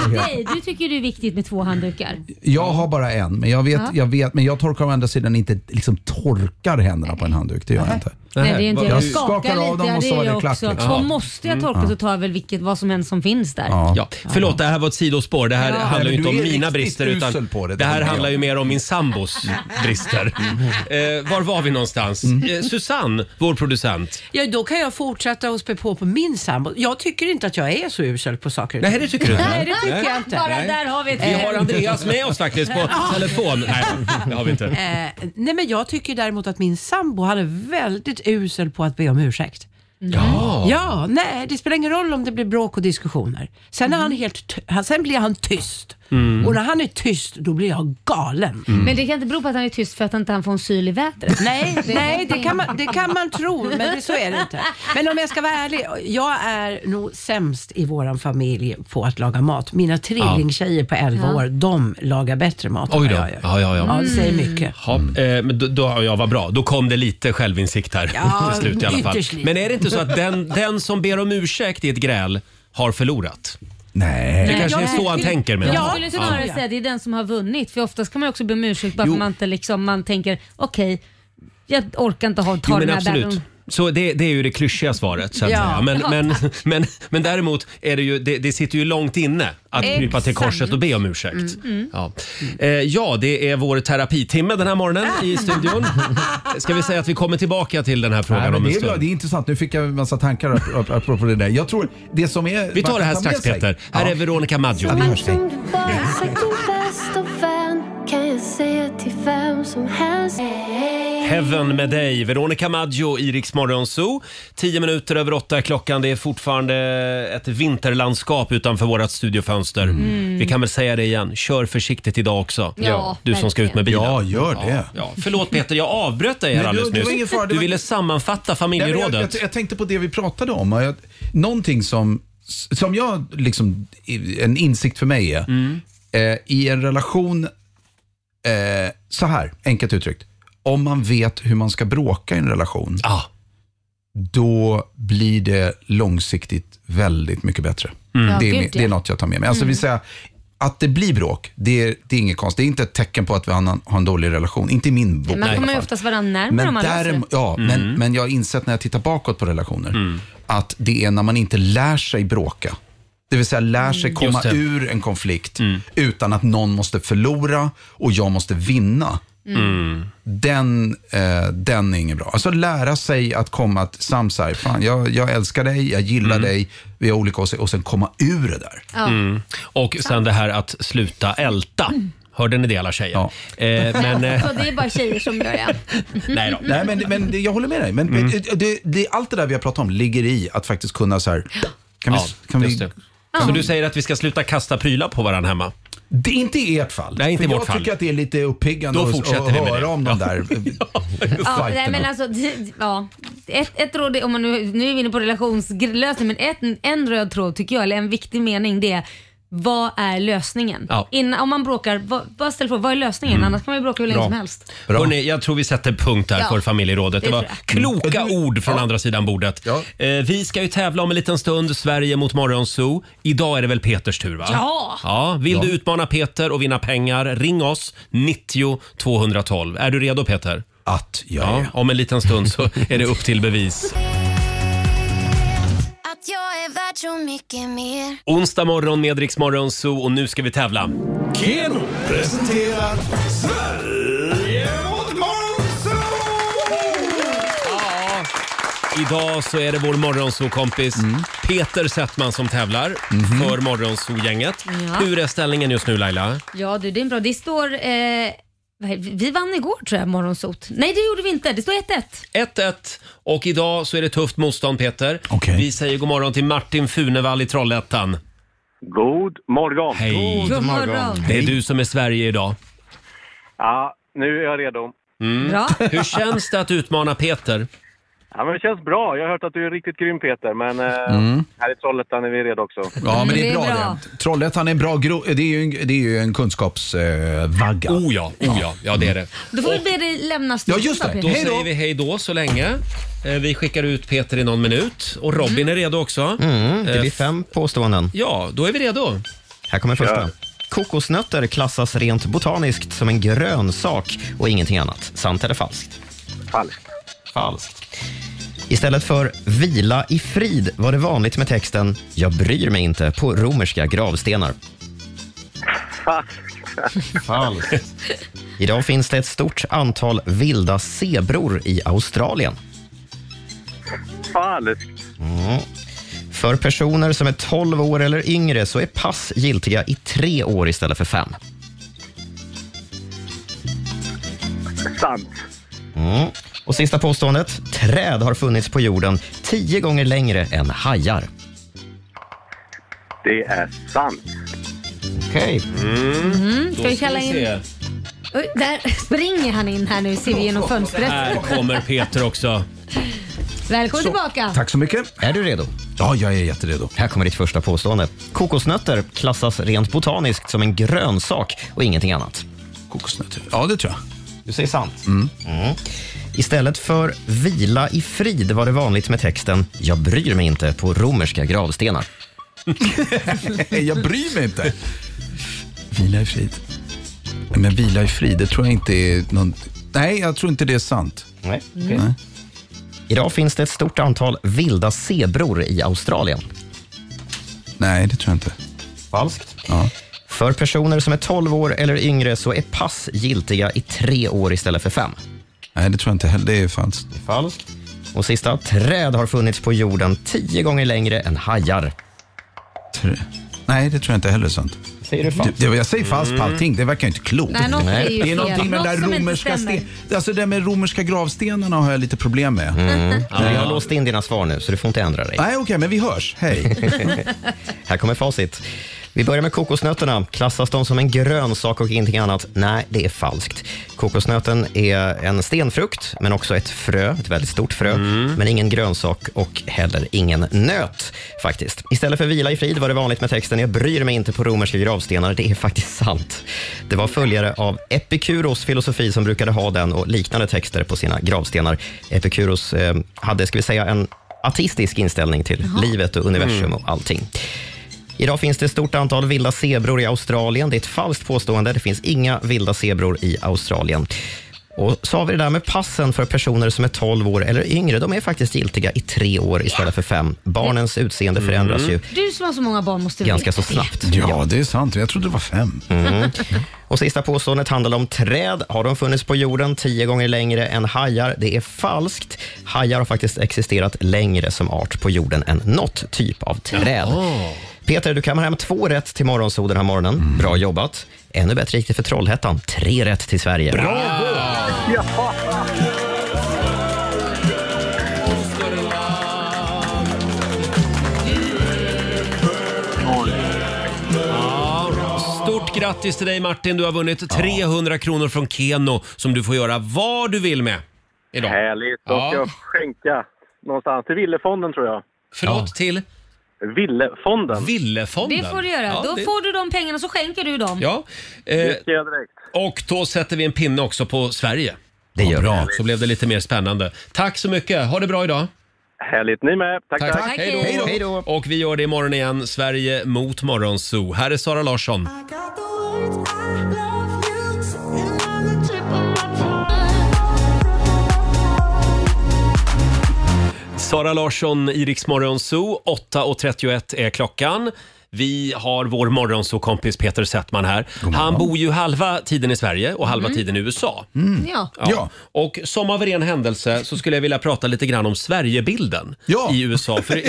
[SPEAKER 2] men nej, du tycker det är viktigt med två handdukar.
[SPEAKER 11] Jag har bara en, men jag vet,
[SPEAKER 2] Ja.
[SPEAKER 11] jag vet men jag torkar å andra sidan inte liksom torkar händerna på en handduk. Det gör jag inte.
[SPEAKER 2] Nej, det är inte,
[SPEAKER 11] jag
[SPEAKER 2] jag
[SPEAKER 11] skakar av dem och så är det klart.
[SPEAKER 2] Liksom. Och måste jag torka så tar jag väl vilket, vad som än som finns där.
[SPEAKER 1] Ja. Förlåt, det här var ett sidospår. Det här
[SPEAKER 2] Ja.
[SPEAKER 1] handlar
[SPEAKER 11] Nej, men
[SPEAKER 1] ju inte
[SPEAKER 11] du
[SPEAKER 1] om
[SPEAKER 11] är
[SPEAKER 1] mina
[SPEAKER 11] riktigt
[SPEAKER 1] brister
[SPEAKER 11] usel
[SPEAKER 1] utan
[SPEAKER 11] på det,
[SPEAKER 1] det här
[SPEAKER 11] det är
[SPEAKER 1] handlar ju mer om min sambos brister.
[SPEAKER 11] Mm.
[SPEAKER 1] Eh, var var vi någonstans? Eh, Susanne, vår producent.
[SPEAKER 6] Ja, då kan jag fortsätta och spä på på min sambo. Jag tycker inte att jag är så usel på saker.
[SPEAKER 1] Nej, det tycker du inte.
[SPEAKER 6] Nej, det tycker
[SPEAKER 1] Nej.
[SPEAKER 6] jag inte.
[SPEAKER 1] Bara Nej. där har vi ett- Vi har Andreas med oss faktiskt på
[SPEAKER 6] Ja.
[SPEAKER 1] telefon. Nej, det har vi inte.
[SPEAKER 6] Eh, nej, men jag tycker däremot att min sambo, han är väldigt usel på att be om ursäkt.
[SPEAKER 1] Mm. Ja.
[SPEAKER 6] Ja, nej, det spelar ingen roll om det blir bråk och diskussioner. Sen, är han helt ty- han- sen blir han tyst.
[SPEAKER 1] Mm.
[SPEAKER 6] Och när han är tyst, då blir jag galen.
[SPEAKER 2] Men det kan inte bero på att han är tyst för att inte han får en syl i vädret.
[SPEAKER 6] Nej, nej det, kan man, det kan man tro, men det, så är det inte. Men om jag ska vara ärlig, jag är nog sämst i vår familj på att laga mat. Mina trillingtjejer på 11
[SPEAKER 1] Ja.
[SPEAKER 6] år, de lagar bättre mat än
[SPEAKER 1] Oj
[SPEAKER 6] vad
[SPEAKER 1] då.
[SPEAKER 6] jag
[SPEAKER 1] Ja,
[SPEAKER 6] gör.
[SPEAKER 1] ja, Mm. ja.
[SPEAKER 6] Ja, det säger mycket.
[SPEAKER 1] Ja,
[SPEAKER 11] Mm.
[SPEAKER 1] eh, men då, då, ja, vad bra. Då kom det lite självinsikt här
[SPEAKER 6] Ja,
[SPEAKER 1] till slut i alla fall.
[SPEAKER 6] ytterst lite.
[SPEAKER 1] Men är det inte så att den, den som ber om ursäkt i ett gräl har förlorat?
[SPEAKER 11] Nej.
[SPEAKER 1] Det kanske är så han tänker med
[SPEAKER 2] Jag skulle snarare säga att det är den som har vunnit. För oftast kan man ju också be om ursäkt bara för att man inte liksom, man tänker okej, jag orkar inte ha, ta
[SPEAKER 1] Jo, men
[SPEAKER 2] den här
[SPEAKER 1] absolut.
[SPEAKER 2] bärgaren.
[SPEAKER 1] Så det, det är ju det klyschiga svaret. Så att
[SPEAKER 7] Ja.
[SPEAKER 1] säga. Men,
[SPEAKER 7] Ja,
[SPEAKER 1] men, men, men däremot är det ju, det, det sitter ju långt inne att krypa till
[SPEAKER 7] Exakt.
[SPEAKER 1] korset och be om ursäkt.
[SPEAKER 7] Mm, mm.
[SPEAKER 1] Ja. Eh, ja, det är vår terapitimme den här morgonen i studion. Ska vi säga att vi kommer tillbaka till den här frågan
[SPEAKER 11] Nej, men
[SPEAKER 1] om
[SPEAKER 11] det,
[SPEAKER 1] en
[SPEAKER 11] är bra,
[SPEAKER 1] stund?
[SPEAKER 11] det är intressant. Nu fick jag en massa tankar ap- ap- apropå det där. Jag tror det som är...
[SPEAKER 1] Vi tar det här
[SPEAKER 11] man kan ta
[SPEAKER 1] strax
[SPEAKER 11] med sig-
[SPEAKER 1] Peter. Här
[SPEAKER 11] Ja.
[SPEAKER 1] är Veronica Maggio.
[SPEAKER 11] Ja, vi hörs. Hej.
[SPEAKER 15] Bara sagt min bästa vän kan jag säga till vem som helst.
[SPEAKER 1] Heaven med dig, Veronica Maggio i Rix Morgon Zoo. Tio minuter över åtta är klockan. Det är fortfarande ett vinterlandskap utanför vårt studiofönster.
[SPEAKER 7] Mm.
[SPEAKER 1] Vi kan väl säga det igen, kör försiktigt idag också.
[SPEAKER 7] Ja,
[SPEAKER 1] du som ska ut med bilen.
[SPEAKER 7] verkligen.
[SPEAKER 11] gör
[SPEAKER 1] det. Ja, förlåt Peter, jag avbröt dig
[SPEAKER 11] Nej,
[SPEAKER 1] här
[SPEAKER 11] det-
[SPEAKER 1] alldeles
[SPEAKER 11] det var
[SPEAKER 1] nyss.
[SPEAKER 11] ingen fara, det
[SPEAKER 1] du
[SPEAKER 11] var-
[SPEAKER 1] ville sammanfatta
[SPEAKER 11] Nej, men jag, jag,
[SPEAKER 1] familjerådet.
[SPEAKER 11] jag tänkte på det vi pratade om. och Jag, någonting som, som jag liksom, en insikt för mig är, eh, i en relation, eh, så här, enkelt uttryckt, om man vet hur man ska bråka i en relation, då blir det långsiktigt väldigt mycket bättre.
[SPEAKER 7] Mm. Ja,
[SPEAKER 11] Det, är,
[SPEAKER 7] gud,
[SPEAKER 11] med- det är
[SPEAKER 7] ja.
[SPEAKER 11] något jag tar med mig. Alltså,
[SPEAKER 7] Mm.
[SPEAKER 11] vi säger, att det blir bråk, det är, det är inget konstigt. Det är inte ett tecken på att vi har en- har en dålig relation. Inte i min bok. i
[SPEAKER 2] Man
[SPEAKER 11] alla
[SPEAKER 2] kommer ju
[SPEAKER 11] fall.
[SPEAKER 2] oftast varandra närmare om
[SPEAKER 11] Men,
[SPEAKER 2] man löser
[SPEAKER 11] däremot,
[SPEAKER 2] det. Mm.
[SPEAKER 11] ja,
[SPEAKER 1] Mm.
[SPEAKER 11] men, men jag har insett när jag tittar bakåt på relationer att det är när man inte lär sig bråka. Det vill säga lär sig
[SPEAKER 1] Mm.
[SPEAKER 11] komma
[SPEAKER 1] Just det. Mm.
[SPEAKER 11] ur en konflikt utan att någon måste förlora och jag måste vinna.
[SPEAKER 1] Mm.
[SPEAKER 11] Den, eh, den är ingen bra. Alltså lära sig att komma att sams här, fan jag, jag älskar dig, jag gillar dig, vi har olika åsikter och sen komma ur det där.
[SPEAKER 2] Ja.
[SPEAKER 1] Mm. Och sen det här att sluta älta. Hörde ni det alla tjejer? Eh, men, eh,
[SPEAKER 2] Så det är bara tjejer som gör det.
[SPEAKER 1] nej då. Mm.
[SPEAKER 11] Nej, men, men det- jag håller med dig. Men, men det, det, allt det där vi har pratat om ligger i att faktiskt kunna så här, kan vi,
[SPEAKER 1] Ja,
[SPEAKER 11] kan
[SPEAKER 1] just
[SPEAKER 11] vi
[SPEAKER 1] det. Så du säger att vi ska sluta kasta prylar på varandra hemma?
[SPEAKER 11] Det är inte i ert fall.
[SPEAKER 1] Nej, inte
[SPEAKER 11] För
[SPEAKER 1] i
[SPEAKER 11] jag
[SPEAKER 1] vårt fall.
[SPEAKER 11] tycker att det är lite uppiggande
[SPEAKER 1] Då
[SPEAKER 11] att-
[SPEAKER 1] fortsätter
[SPEAKER 11] att
[SPEAKER 1] vi med
[SPEAKER 11] höra
[SPEAKER 1] det.
[SPEAKER 11] om de där eh,
[SPEAKER 2] Ja, nej, men
[SPEAKER 11] fighterna.
[SPEAKER 2] alltså, det- ja. ett, ett råd, är- om man nu, nu är vi inne på relationslösning, men ett, en röd tråd tycker jag, eller en viktig mening, det är vad är lösningen?
[SPEAKER 1] Ja.
[SPEAKER 2] Innan, om man bråkar, vad, bara ställ frågan vad är lösningen?
[SPEAKER 1] Mm.
[SPEAKER 2] Annars kan man ju bråka hur länge som helst.
[SPEAKER 1] Hörrni, jag tror vi sätter punkt där
[SPEAKER 2] Ja.
[SPEAKER 1] för familjerådet. Det
[SPEAKER 2] Det
[SPEAKER 1] var
[SPEAKER 2] tror jag.
[SPEAKER 1] kloka
[SPEAKER 11] Mm.
[SPEAKER 1] ord från andra sidan bordet. Eh, vi ska ju tävla om en liten stund, Sverige mot Morgonzoo. Idag är det väl Peters tur va?
[SPEAKER 7] Ja.
[SPEAKER 1] ja vill
[SPEAKER 7] Ja.
[SPEAKER 1] du utmana Peter och vinna pengar, ring oss 90 212. Är du redo Peter?
[SPEAKER 11] Att jag
[SPEAKER 1] ja, Om en liten stund så är det upp till bevis.
[SPEAKER 15] Att jag är värd så mycket mer.
[SPEAKER 1] Onsdag morgon med Rix Morgonzoo och nu ska vi tävla.
[SPEAKER 4] Keno presenterar Sverige mot
[SPEAKER 1] Idag så är det vår morgonsokompis Peter Settman som tävlar för morgonsogänget.
[SPEAKER 2] Ja.
[SPEAKER 1] Hur är ställningen just nu Laila?
[SPEAKER 2] Ja du, det är en bra. Det står, eh, vad är- vi vann igår tror jag, morgonsot. Nej det gjorde vi inte, det står 1-1.
[SPEAKER 1] 1-1 och idag så är det tufft motstånd Peter. Vi säger god morgon till Martin Funevall i Trollhättan.
[SPEAKER 16] God morgon.
[SPEAKER 1] Hej.
[SPEAKER 16] God God morgon. morgon.
[SPEAKER 1] Det är du som är Sverige idag.
[SPEAKER 16] Ja, nu är jag redo.
[SPEAKER 1] Mm.
[SPEAKER 16] Bra.
[SPEAKER 1] Hur känns det att utmana Peter?
[SPEAKER 16] Ja, men det känns bra. Jag har hört att du är riktigt grym Peter, men eh,
[SPEAKER 11] Mm.
[SPEAKER 16] här i Trollhättan är vi redo också.
[SPEAKER 11] Ja, men det är bra det. Trollhättan är en bra gro- det är ju en, det är ju en kunskapsvagga.
[SPEAKER 1] Oh ja, oh ja, ja det är det.
[SPEAKER 2] Då får vi be dig lämna studion då, Peter.
[SPEAKER 1] Då säger vi hej då så länge. Eh, Vi skickar ut Peter i någon minut och Robin är redo också.
[SPEAKER 8] Mm, det
[SPEAKER 1] Eh,
[SPEAKER 8] blir fem påståenden.
[SPEAKER 1] Ja, då är vi redo.
[SPEAKER 8] Här kommer första. Kokosnötter klassas rent botaniskt som en grönsak och ingenting annat. Sant eller falskt?
[SPEAKER 16] Falskt.
[SPEAKER 8] Falskt. Istället för vila i frid var det vanligt med texten Jag bryr mig inte på romerska gravstenar. Falskt. Idag finns det ett stort antal vilda zebror i Australien.
[SPEAKER 16] Falskt.
[SPEAKER 8] Mm. För personer som är 12 år eller yngre så är pass giltiga i tre år istället för fem.
[SPEAKER 16] Sant.
[SPEAKER 8] Mm. Och sista påståendet. Träd har funnits på jorden tio gånger längre än hajar.
[SPEAKER 16] Det är sant.
[SPEAKER 8] Okej.
[SPEAKER 2] Mm, ska vi kalla in... Oj, där springer han in här nu, ser vi genom fönstret.
[SPEAKER 1] Här kommer Peter också.
[SPEAKER 2] Välkommen
[SPEAKER 8] Så,
[SPEAKER 2] tillbaka.
[SPEAKER 8] så mycket. Är du redo?
[SPEAKER 11] Ja, jag är jätteredo.
[SPEAKER 8] Här kommer ditt första påstående. Kokosnötter klassas rent botaniskt som en grönsak och ingenting annat.
[SPEAKER 11] Kokosnötter? Ja, det tror jag.
[SPEAKER 8] Du säger sant? Mm. Istället för vila i frid var det vanligt med texten Jag bryr mig inte på romerska gravstenar.
[SPEAKER 11] jag bryr mig inte. Vila i frid. Nej, Men
[SPEAKER 8] Mm.
[SPEAKER 7] Mm.
[SPEAKER 11] vila i frid, det tror jag inte är någon... Nej, jag tror inte det är sant.
[SPEAKER 8] Nej.
[SPEAKER 11] Nej.
[SPEAKER 8] Idag finns det ett stort antal vilda zebror i Australien.
[SPEAKER 11] Nej, det tror jag inte.
[SPEAKER 8] Falskt. För personer som är 12 år eller yngre så är pass giltiga i tre år istället för fem.
[SPEAKER 11] Nej, det tror jag inte heller. Det är falskt.
[SPEAKER 8] falskt. Och sista, träd har funnits på jorden tio gånger längre än hajar.
[SPEAKER 11] Tre. Nej, det tror jag inte heller är sant.
[SPEAKER 8] Säger du falskt?
[SPEAKER 11] Jag, jag säger falskt på
[SPEAKER 8] Mm.
[SPEAKER 11] allting. Det verkar ju inte klokt.
[SPEAKER 8] Nej, något är ju
[SPEAKER 11] det är
[SPEAKER 8] fel.
[SPEAKER 11] någonting med
[SPEAKER 8] Något
[SPEAKER 11] den där
[SPEAKER 8] som inte
[SPEAKER 11] romerska
[SPEAKER 8] stämmer.
[SPEAKER 11] sten... Alltså det där med romerska gravstenarna har jag lite problem med.
[SPEAKER 8] Mm. Men jag har
[SPEAKER 11] Ja.
[SPEAKER 8] låst in dina svar nu, så du får inte ändra dig.
[SPEAKER 11] Nej, okej, men vi hörs. Hej.
[SPEAKER 8] Här kommer facit. Vi börjar med kokosnötterna. Klassas de som en grönsak och ingenting annat? Nej, det är falskt. Kokosnöten är en stenfrukt, men också ett frö, ett väldigt stort frö.
[SPEAKER 1] Mm.
[SPEAKER 8] Men ingen grönsak och heller ingen nöt, faktiskt. Istället för vila i frid var det vanligt med texten “Jag bryr mig inte på romerska gravstenar”. Det är faktiskt sant. Det var följare av Epikuros filosofi som brukade ha den och liknande texter på sina gravstenar. Epikuros eh, hade, ska vi säga, en ateistisk inställning till
[SPEAKER 1] Jaha.
[SPEAKER 8] livet och universum
[SPEAKER 1] Mm.
[SPEAKER 8] och allting. Idag finns det ett stort antal vilda zebror i Australien. Det är ett falskt påstående. Det finns inga vilda zebror i Australien. Och så har vi det där med passen för personer som är 12 år eller yngre. De är faktiskt giltiga i tre år istället för fem. Barnens utseende förändras ju
[SPEAKER 2] Du som har så många barn måste
[SPEAKER 8] ganska så
[SPEAKER 2] veta det.
[SPEAKER 8] snabbt. Ja,
[SPEAKER 11] det är sant. Jag trodde det var fem.
[SPEAKER 8] Mm. Och sista påståendet handlar om träd. Har de funnits på jorden tio gånger längre än hajar? Det är falskt. Hajar har faktiskt existerat längre som art på jorden än något typ av träd. Peter, du kammar hem två rätt till Morgonzoo den här morgonen. Bra jobbat. Ännu bättre gick det för Trollhättan. Tre rätt till Sverige.
[SPEAKER 13] Ja.
[SPEAKER 1] Stort grattis till dig Martin. Du har vunnit 300 kronor från Keno som du får göra vad du vill med idag.
[SPEAKER 16] Härligt. Då ska
[SPEAKER 1] Ja.
[SPEAKER 16] jag skänka någonstans. Till Villefonden tror jag.
[SPEAKER 1] Förlåt, till?
[SPEAKER 16] Villefonden.
[SPEAKER 1] Villefonden?
[SPEAKER 2] Det får du göra.
[SPEAKER 1] Ja,
[SPEAKER 2] Då
[SPEAKER 1] det-
[SPEAKER 2] får du de pengarna så skänker du dem.
[SPEAKER 1] Ja. Eh,
[SPEAKER 16] Det ska jag
[SPEAKER 1] och då sätter vi en pinne också på Sverige.
[SPEAKER 8] Det gör
[SPEAKER 1] bra. Så blev det lite mer spännande. Tack så mycket. Ha det bra idag.
[SPEAKER 16] Härligt. Ni med. Tack, tack.
[SPEAKER 1] Hej då. Och vi gör det imorgon igen. Sverige mot Morgonzoo. Här är Sara Larsson. Sara Larsson, Iriks Morgonzoo. 8.31 är klockan. Vi har vår morgonsokompis Peter Settman här. Han bor ju halva tiden i Sverige och halva tiden i USA.
[SPEAKER 2] Ja.
[SPEAKER 1] Ja. Och som av ren händelse så skulle jag vilja prata lite grann om Sverigebilden i USA. För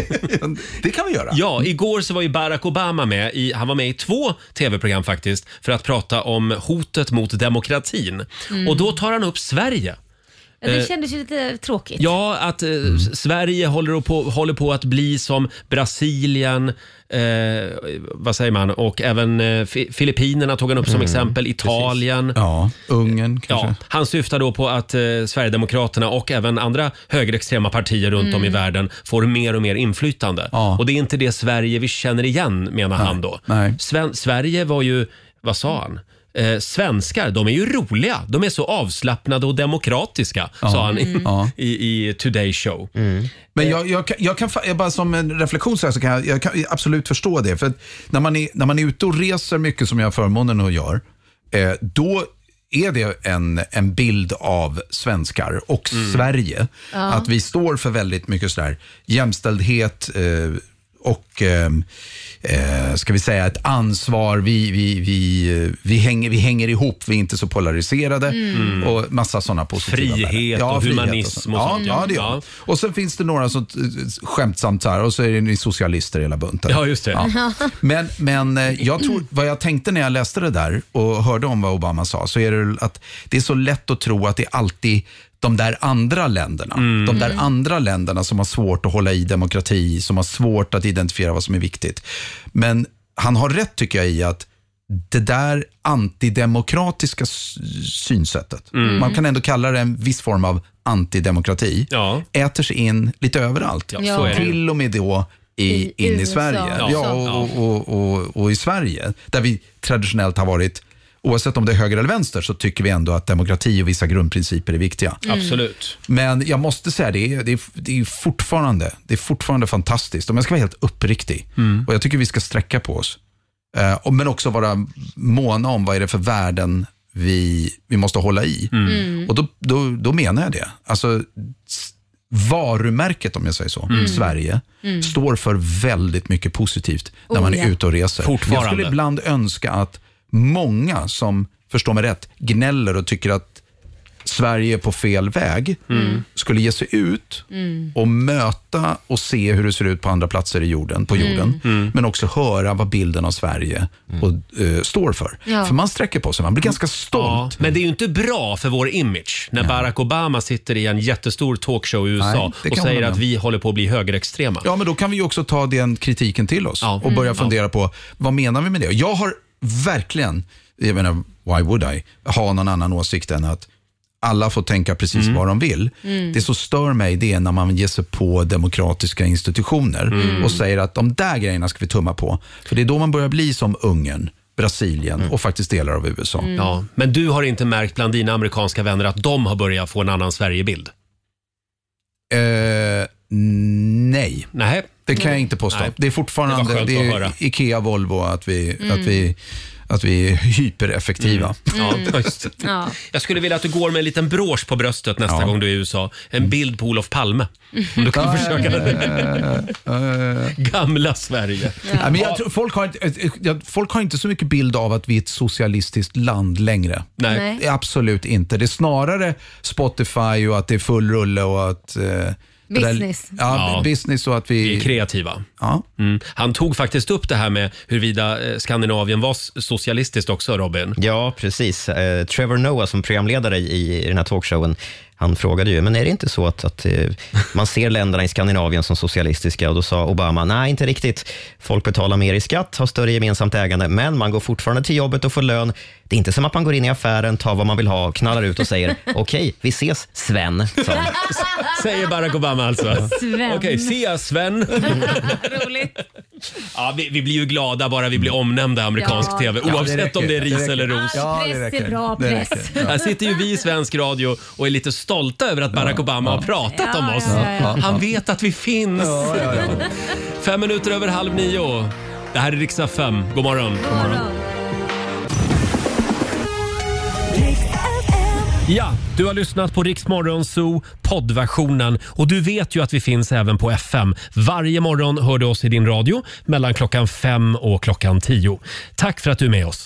[SPEAKER 11] det kan vi göra.
[SPEAKER 1] Ja, igår så var ju Barack Obama med. I, han var med i två tv-program faktiskt för att prata om hotet mot demokratin.
[SPEAKER 2] Mm.
[SPEAKER 1] Och då tar han upp Sverige.
[SPEAKER 2] Ja, Det
[SPEAKER 1] Eh,
[SPEAKER 2] kändes ju lite tråkigt.
[SPEAKER 1] Ja, att eh,
[SPEAKER 11] Mm.
[SPEAKER 1] s- Sverige håller på, håller på att bli som Brasilien, eh, vad säger man, och även eh, Fi- Filippinerna tog han upp som
[SPEAKER 11] Mm,
[SPEAKER 1] exempel, Italien.
[SPEAKER 11] Ja, Ungern kanske.
[SPEAKER 1] Ja, han syftar då på att eh, Sverigedemokraterna och även andra högerextrema partier runt om i
[SPEAKER 11] Mm.
[SPEAKER 1] världen får mer och mer inflytande. Och det är inte det Sverige vi känner igen, menar han då.
[SPEAKER 11] Nej.
[SPEAKER 1] Sven- Sverige var ju, vad sa han? Eh, svenskar, de är ju roliga. De är så avslappnade och demokratiska,
[SPEAKER 11] Ja.
[SPEAKER 1] sa han i,
[SPEAKER 11] Mm. Ja.
[SPEAKER 1] i, i Today Show.
[SPEAKER 11] Men jag, jag, kan- jag kan, fa- jag bara som en reflektion så, här, så kan jag, jag kan absolut förstå det. För att när man, är, när man är ute och reser mycket som jag har förmånen att göra, eh, då är det en, en bild av svenskar och
[SPEAKER 1] Mm.
[SPEAKER 11] Sverige.
[SPEAKER 13] Ja.
[SPEAKER 11] Att vi står för väldigt mycket sådär jämställdhet, eh, och eh, eh, ska vi säga ett ansvar. Vi, vi, vi, eh, vi, hänger, vi hänger ihop, vi är inte så polariserade
[SPEAKER 1] Mm.
[SPEAKER 11] och massa sådana positiva
[SPEAKER 1] Frihet
[SPEAKER 11] värden.
[SPEAKER 1] och
[SPEAKER 11] frihet
[SPEAKER 1] humanism och
[SPEAKER 11] ja,
[SPEAKER 1] sånt, ja.
[SPEAKER 11] Ja, det gör
[SPEAKER 1] Ja.
[SPEAKER 11] och sen finns det några som eh, skämtsamt så här, och så är det ni socialister hela bunten.
[SPEAKER 1] Ja, just det.
[SPEAKER 11] Ja. Men, men eh, jag tror, vad jag tänkte när jag läste det där och hörde om vad Obama sa, så är det att det är så lätt att tro att det är alltid de där andra länderna,
[SPEAKER 1] Mm.
[SPEAKER 11] de där andra länderna som har svårt att hålla i demokrati, som har svårt att identifiera vad som är viktigt. Men han har rätt tycker jag i att det där antidemokratiska s- synsättet,
[SPEAKER 1] Mm.
[SPEAKER 11] man kan ändå kalla det en viss form av antidemokrati, äter sig in lite överallt.
[SPEAKER 1] Ja, så är det.
[SPEAKER 11] Till och med då i,
[SPEAKER 1] I
[SPEAKER 11] in i
[SPEAKER 1] USA.
[SPEAKER 11] Sverige.
[SPEAKER 1] Ja.
[SPEAKER 11] Ja, och, och, och, och i Sverige, där vi traditionellt har varit Oavsett om det är höger eller vänster så tycker vi ändå att demokrati och vissa grundprinciper är viktiga.
[SPEAKER 1] Mm. Absolut.
[SPEAKER 11] Men jag måste säga, det är, det är, det är, fortfarande, det är fortfarande fantastiskt. Om jag ska vara helt uppriktig, och jag tycker vi ska sträcka på oss. Eh, och- men också vara måna om vad är det för värden vi, vi måste hålla i.
[SPEAKER 13] Mm. Mm.
[SPEAKER 11] Och då, då, då menar jag det. Alltså, s- varumärket, om jag säger så,
[SPEAKER 4] Mm.
[SPEAKER 11] Sverige,
[SPEAKER 4] Mm.
[SPEAKER 11] står för väldigt mycket positivt när
[SPEAKER 4] Oh,
[SPEAKER 11] man är
[SPEAKER 4] ja.
[SPEAKER 11] ute och reser.
[SPEAKER 4] Fortfarande.
[SPEAKER 11] Jag skulle ibland önska att många som, förstår mig rätt, gnäller och tycker att Sverige är på fel väg,
[SPEAKER 4] Mm.
[SPEAKER 11] skulle ge sig ut och möta och se hur det ser ut på andra platser i jorden, på
[SPEAKER 4] Mm.
[SPEAKER 11] jorden. Men också höra vad bilden av Sverige och, eh, står för.
[SPEAKER 1] Ja.
[SPEAKER 11] För man sträcker på sig, man blir
[SPEAKER 4] Mm.
[SPEAKER 11] ganska stolt.
[SPEAKER 1] Ja, men det är ju inte bra för vår image när Barack Obama sitter i en jättestor talkshow i USA
[SPEAKER 11] Nej, det
[SPEAKER 1] och
[SPEAKER 11] kan
[SPEAKER 1] säger
[SPEAKER 11] man
[SPEAKER 1] att
[SPEAKER 11] med.
[SPEAKER 1] vi håller på att bli högerextrema.
[SPEAKER 11] Ja, men då kan vi ju också ta den kritiken till oss och börja
[SPEAKER 1] Mm.
[SPEAKER 11] fundera på vad menar vi med det? Jag har verkligen, jag menar, why would I, ha någon annan åsikt än att alla får tänka precis vad de vill.
[SPEAKER 4] Mm.
[SPEAKER 11] Det som stör mig det är när man ger sig på demokratiska institutioner
[SPEAKER 4] Mm.
[SPEAKER 11] och säger att de där grejerna ska vi tumma på. För det är då man börjar bli som Ungern, Brasilien och faktiskt delar av USA.
[SPEAKER 1] Mm. Ja, men du har inte märkt bland dina amerikanska vänner att de har börjat få en annan Sverigebild?
[SPEAKER 11] Eh, nej.
[SPEAKER 1] nej.
[SPEAKER 11] Det kan jag inte påstå.
[SPEAKER 1] Nej.
[SPEAKER 11] Det är
[SPEAKER 1] Det
[SPEAKER 11] fortfarande
[SPEAKER 1] var
[SPEAKER 11] det
[SPEAKER 1] skönt att höra.
[SPEAKER 11] är Ikea, Volvo, att vi,
[SPEAKER 1] Mm.
[SPEAKER 11] att vi, att vi är hypereffektiva.
[SPEAKER 1] Ja, just. det.
[SPEAKER 2] Ja.
[SPEAKER 1] Jag skulle vilja att du går med en liten brosch på bröstet nästa
[SPEAKER 11] Ja. Mm.
[SPEAKER 1] gång du är i USA. En bild på Olof Palme. Om du kan försöka Mm. Gamla Sverige.
[SPEAKER 11] Eh, Nej, men jag tror, folk, har inte, eh, jag- folk har inte så mycket bild av att vi är ett socialistiskt land längre.
[SPEAKER 1] Nej. Nej.
[SPEAKER 11] Absolut inte. Det är snarare Spotify och att det är full rulle och att... eh, det där-
[SPEAKER 1] Business.
[SPEAKER 11] ja,
[SPEAKER 1] Ja.
[SPEAKER 11] business och att vi...
[SPEAKER 1] Vi är kreativa. Mm. Han tog faktiskt upp det här med huruvida eh, Skandinavien var s- socialistiskt också, Robin.
[SPEAKER 8] Ja, precis. Eh, Trevor Noah som programledare i, i den här talkshowen, han frågade ju, men är det inte så att, att eh, man ser länderna i Skandinavien som socialistiska? Och då sa Obama, nej inte riktigt. Folk betalar mer i skatt, har större gemensamt ägande, men man går fortfarande till jobbet och får lön. Det är inte som att man går in i affären, tar vad man vill ha, knallar ut och säger, okej, vi ses Sven. sa han.
[SPEAKER 1] Säger Barack Obama alltså.
[SPEAKER 2] Sven.
[SPEAKER 1] Okej, se Sven.
[SPEAKER 2] Roligt.
[SPEAKER 1] Ja, vi, vi blir ju glada bara vi blir omnämnda i amerikansk
[SPEAKER 2] Ja.
[SPEAKER 1] TV,
[SPEAKER 2] Ja, det
[SPEAKER 1] oavsett
[SPEAKER 11] räcker.
[SPEAKER 1] om det är
[SPEAKER 11] Det
[SPEAKER 1] ris
[SPEAKER 11] räcker.
[SPEAKER 1] eller ros.
[SPEAKER 2] Ja, det Press är räcker. bra, Det press. räcker.
[SPEAKER 1] Här sitter ju vi i svensk radio och är lite stolta över att Barack Obama har pratat om oss. Han vet att vi finns. Fem minuter över halv nio. Det här är riksdag 5. God morgon. God morgon. Ja, du har lyssnat på Rix Morgon Zoo poddversionen och du vet ju att vi finns även på FM. Varje morgon hör du oss i din radio mellan klockan fem och klockan tio. Tack för att du är med oss.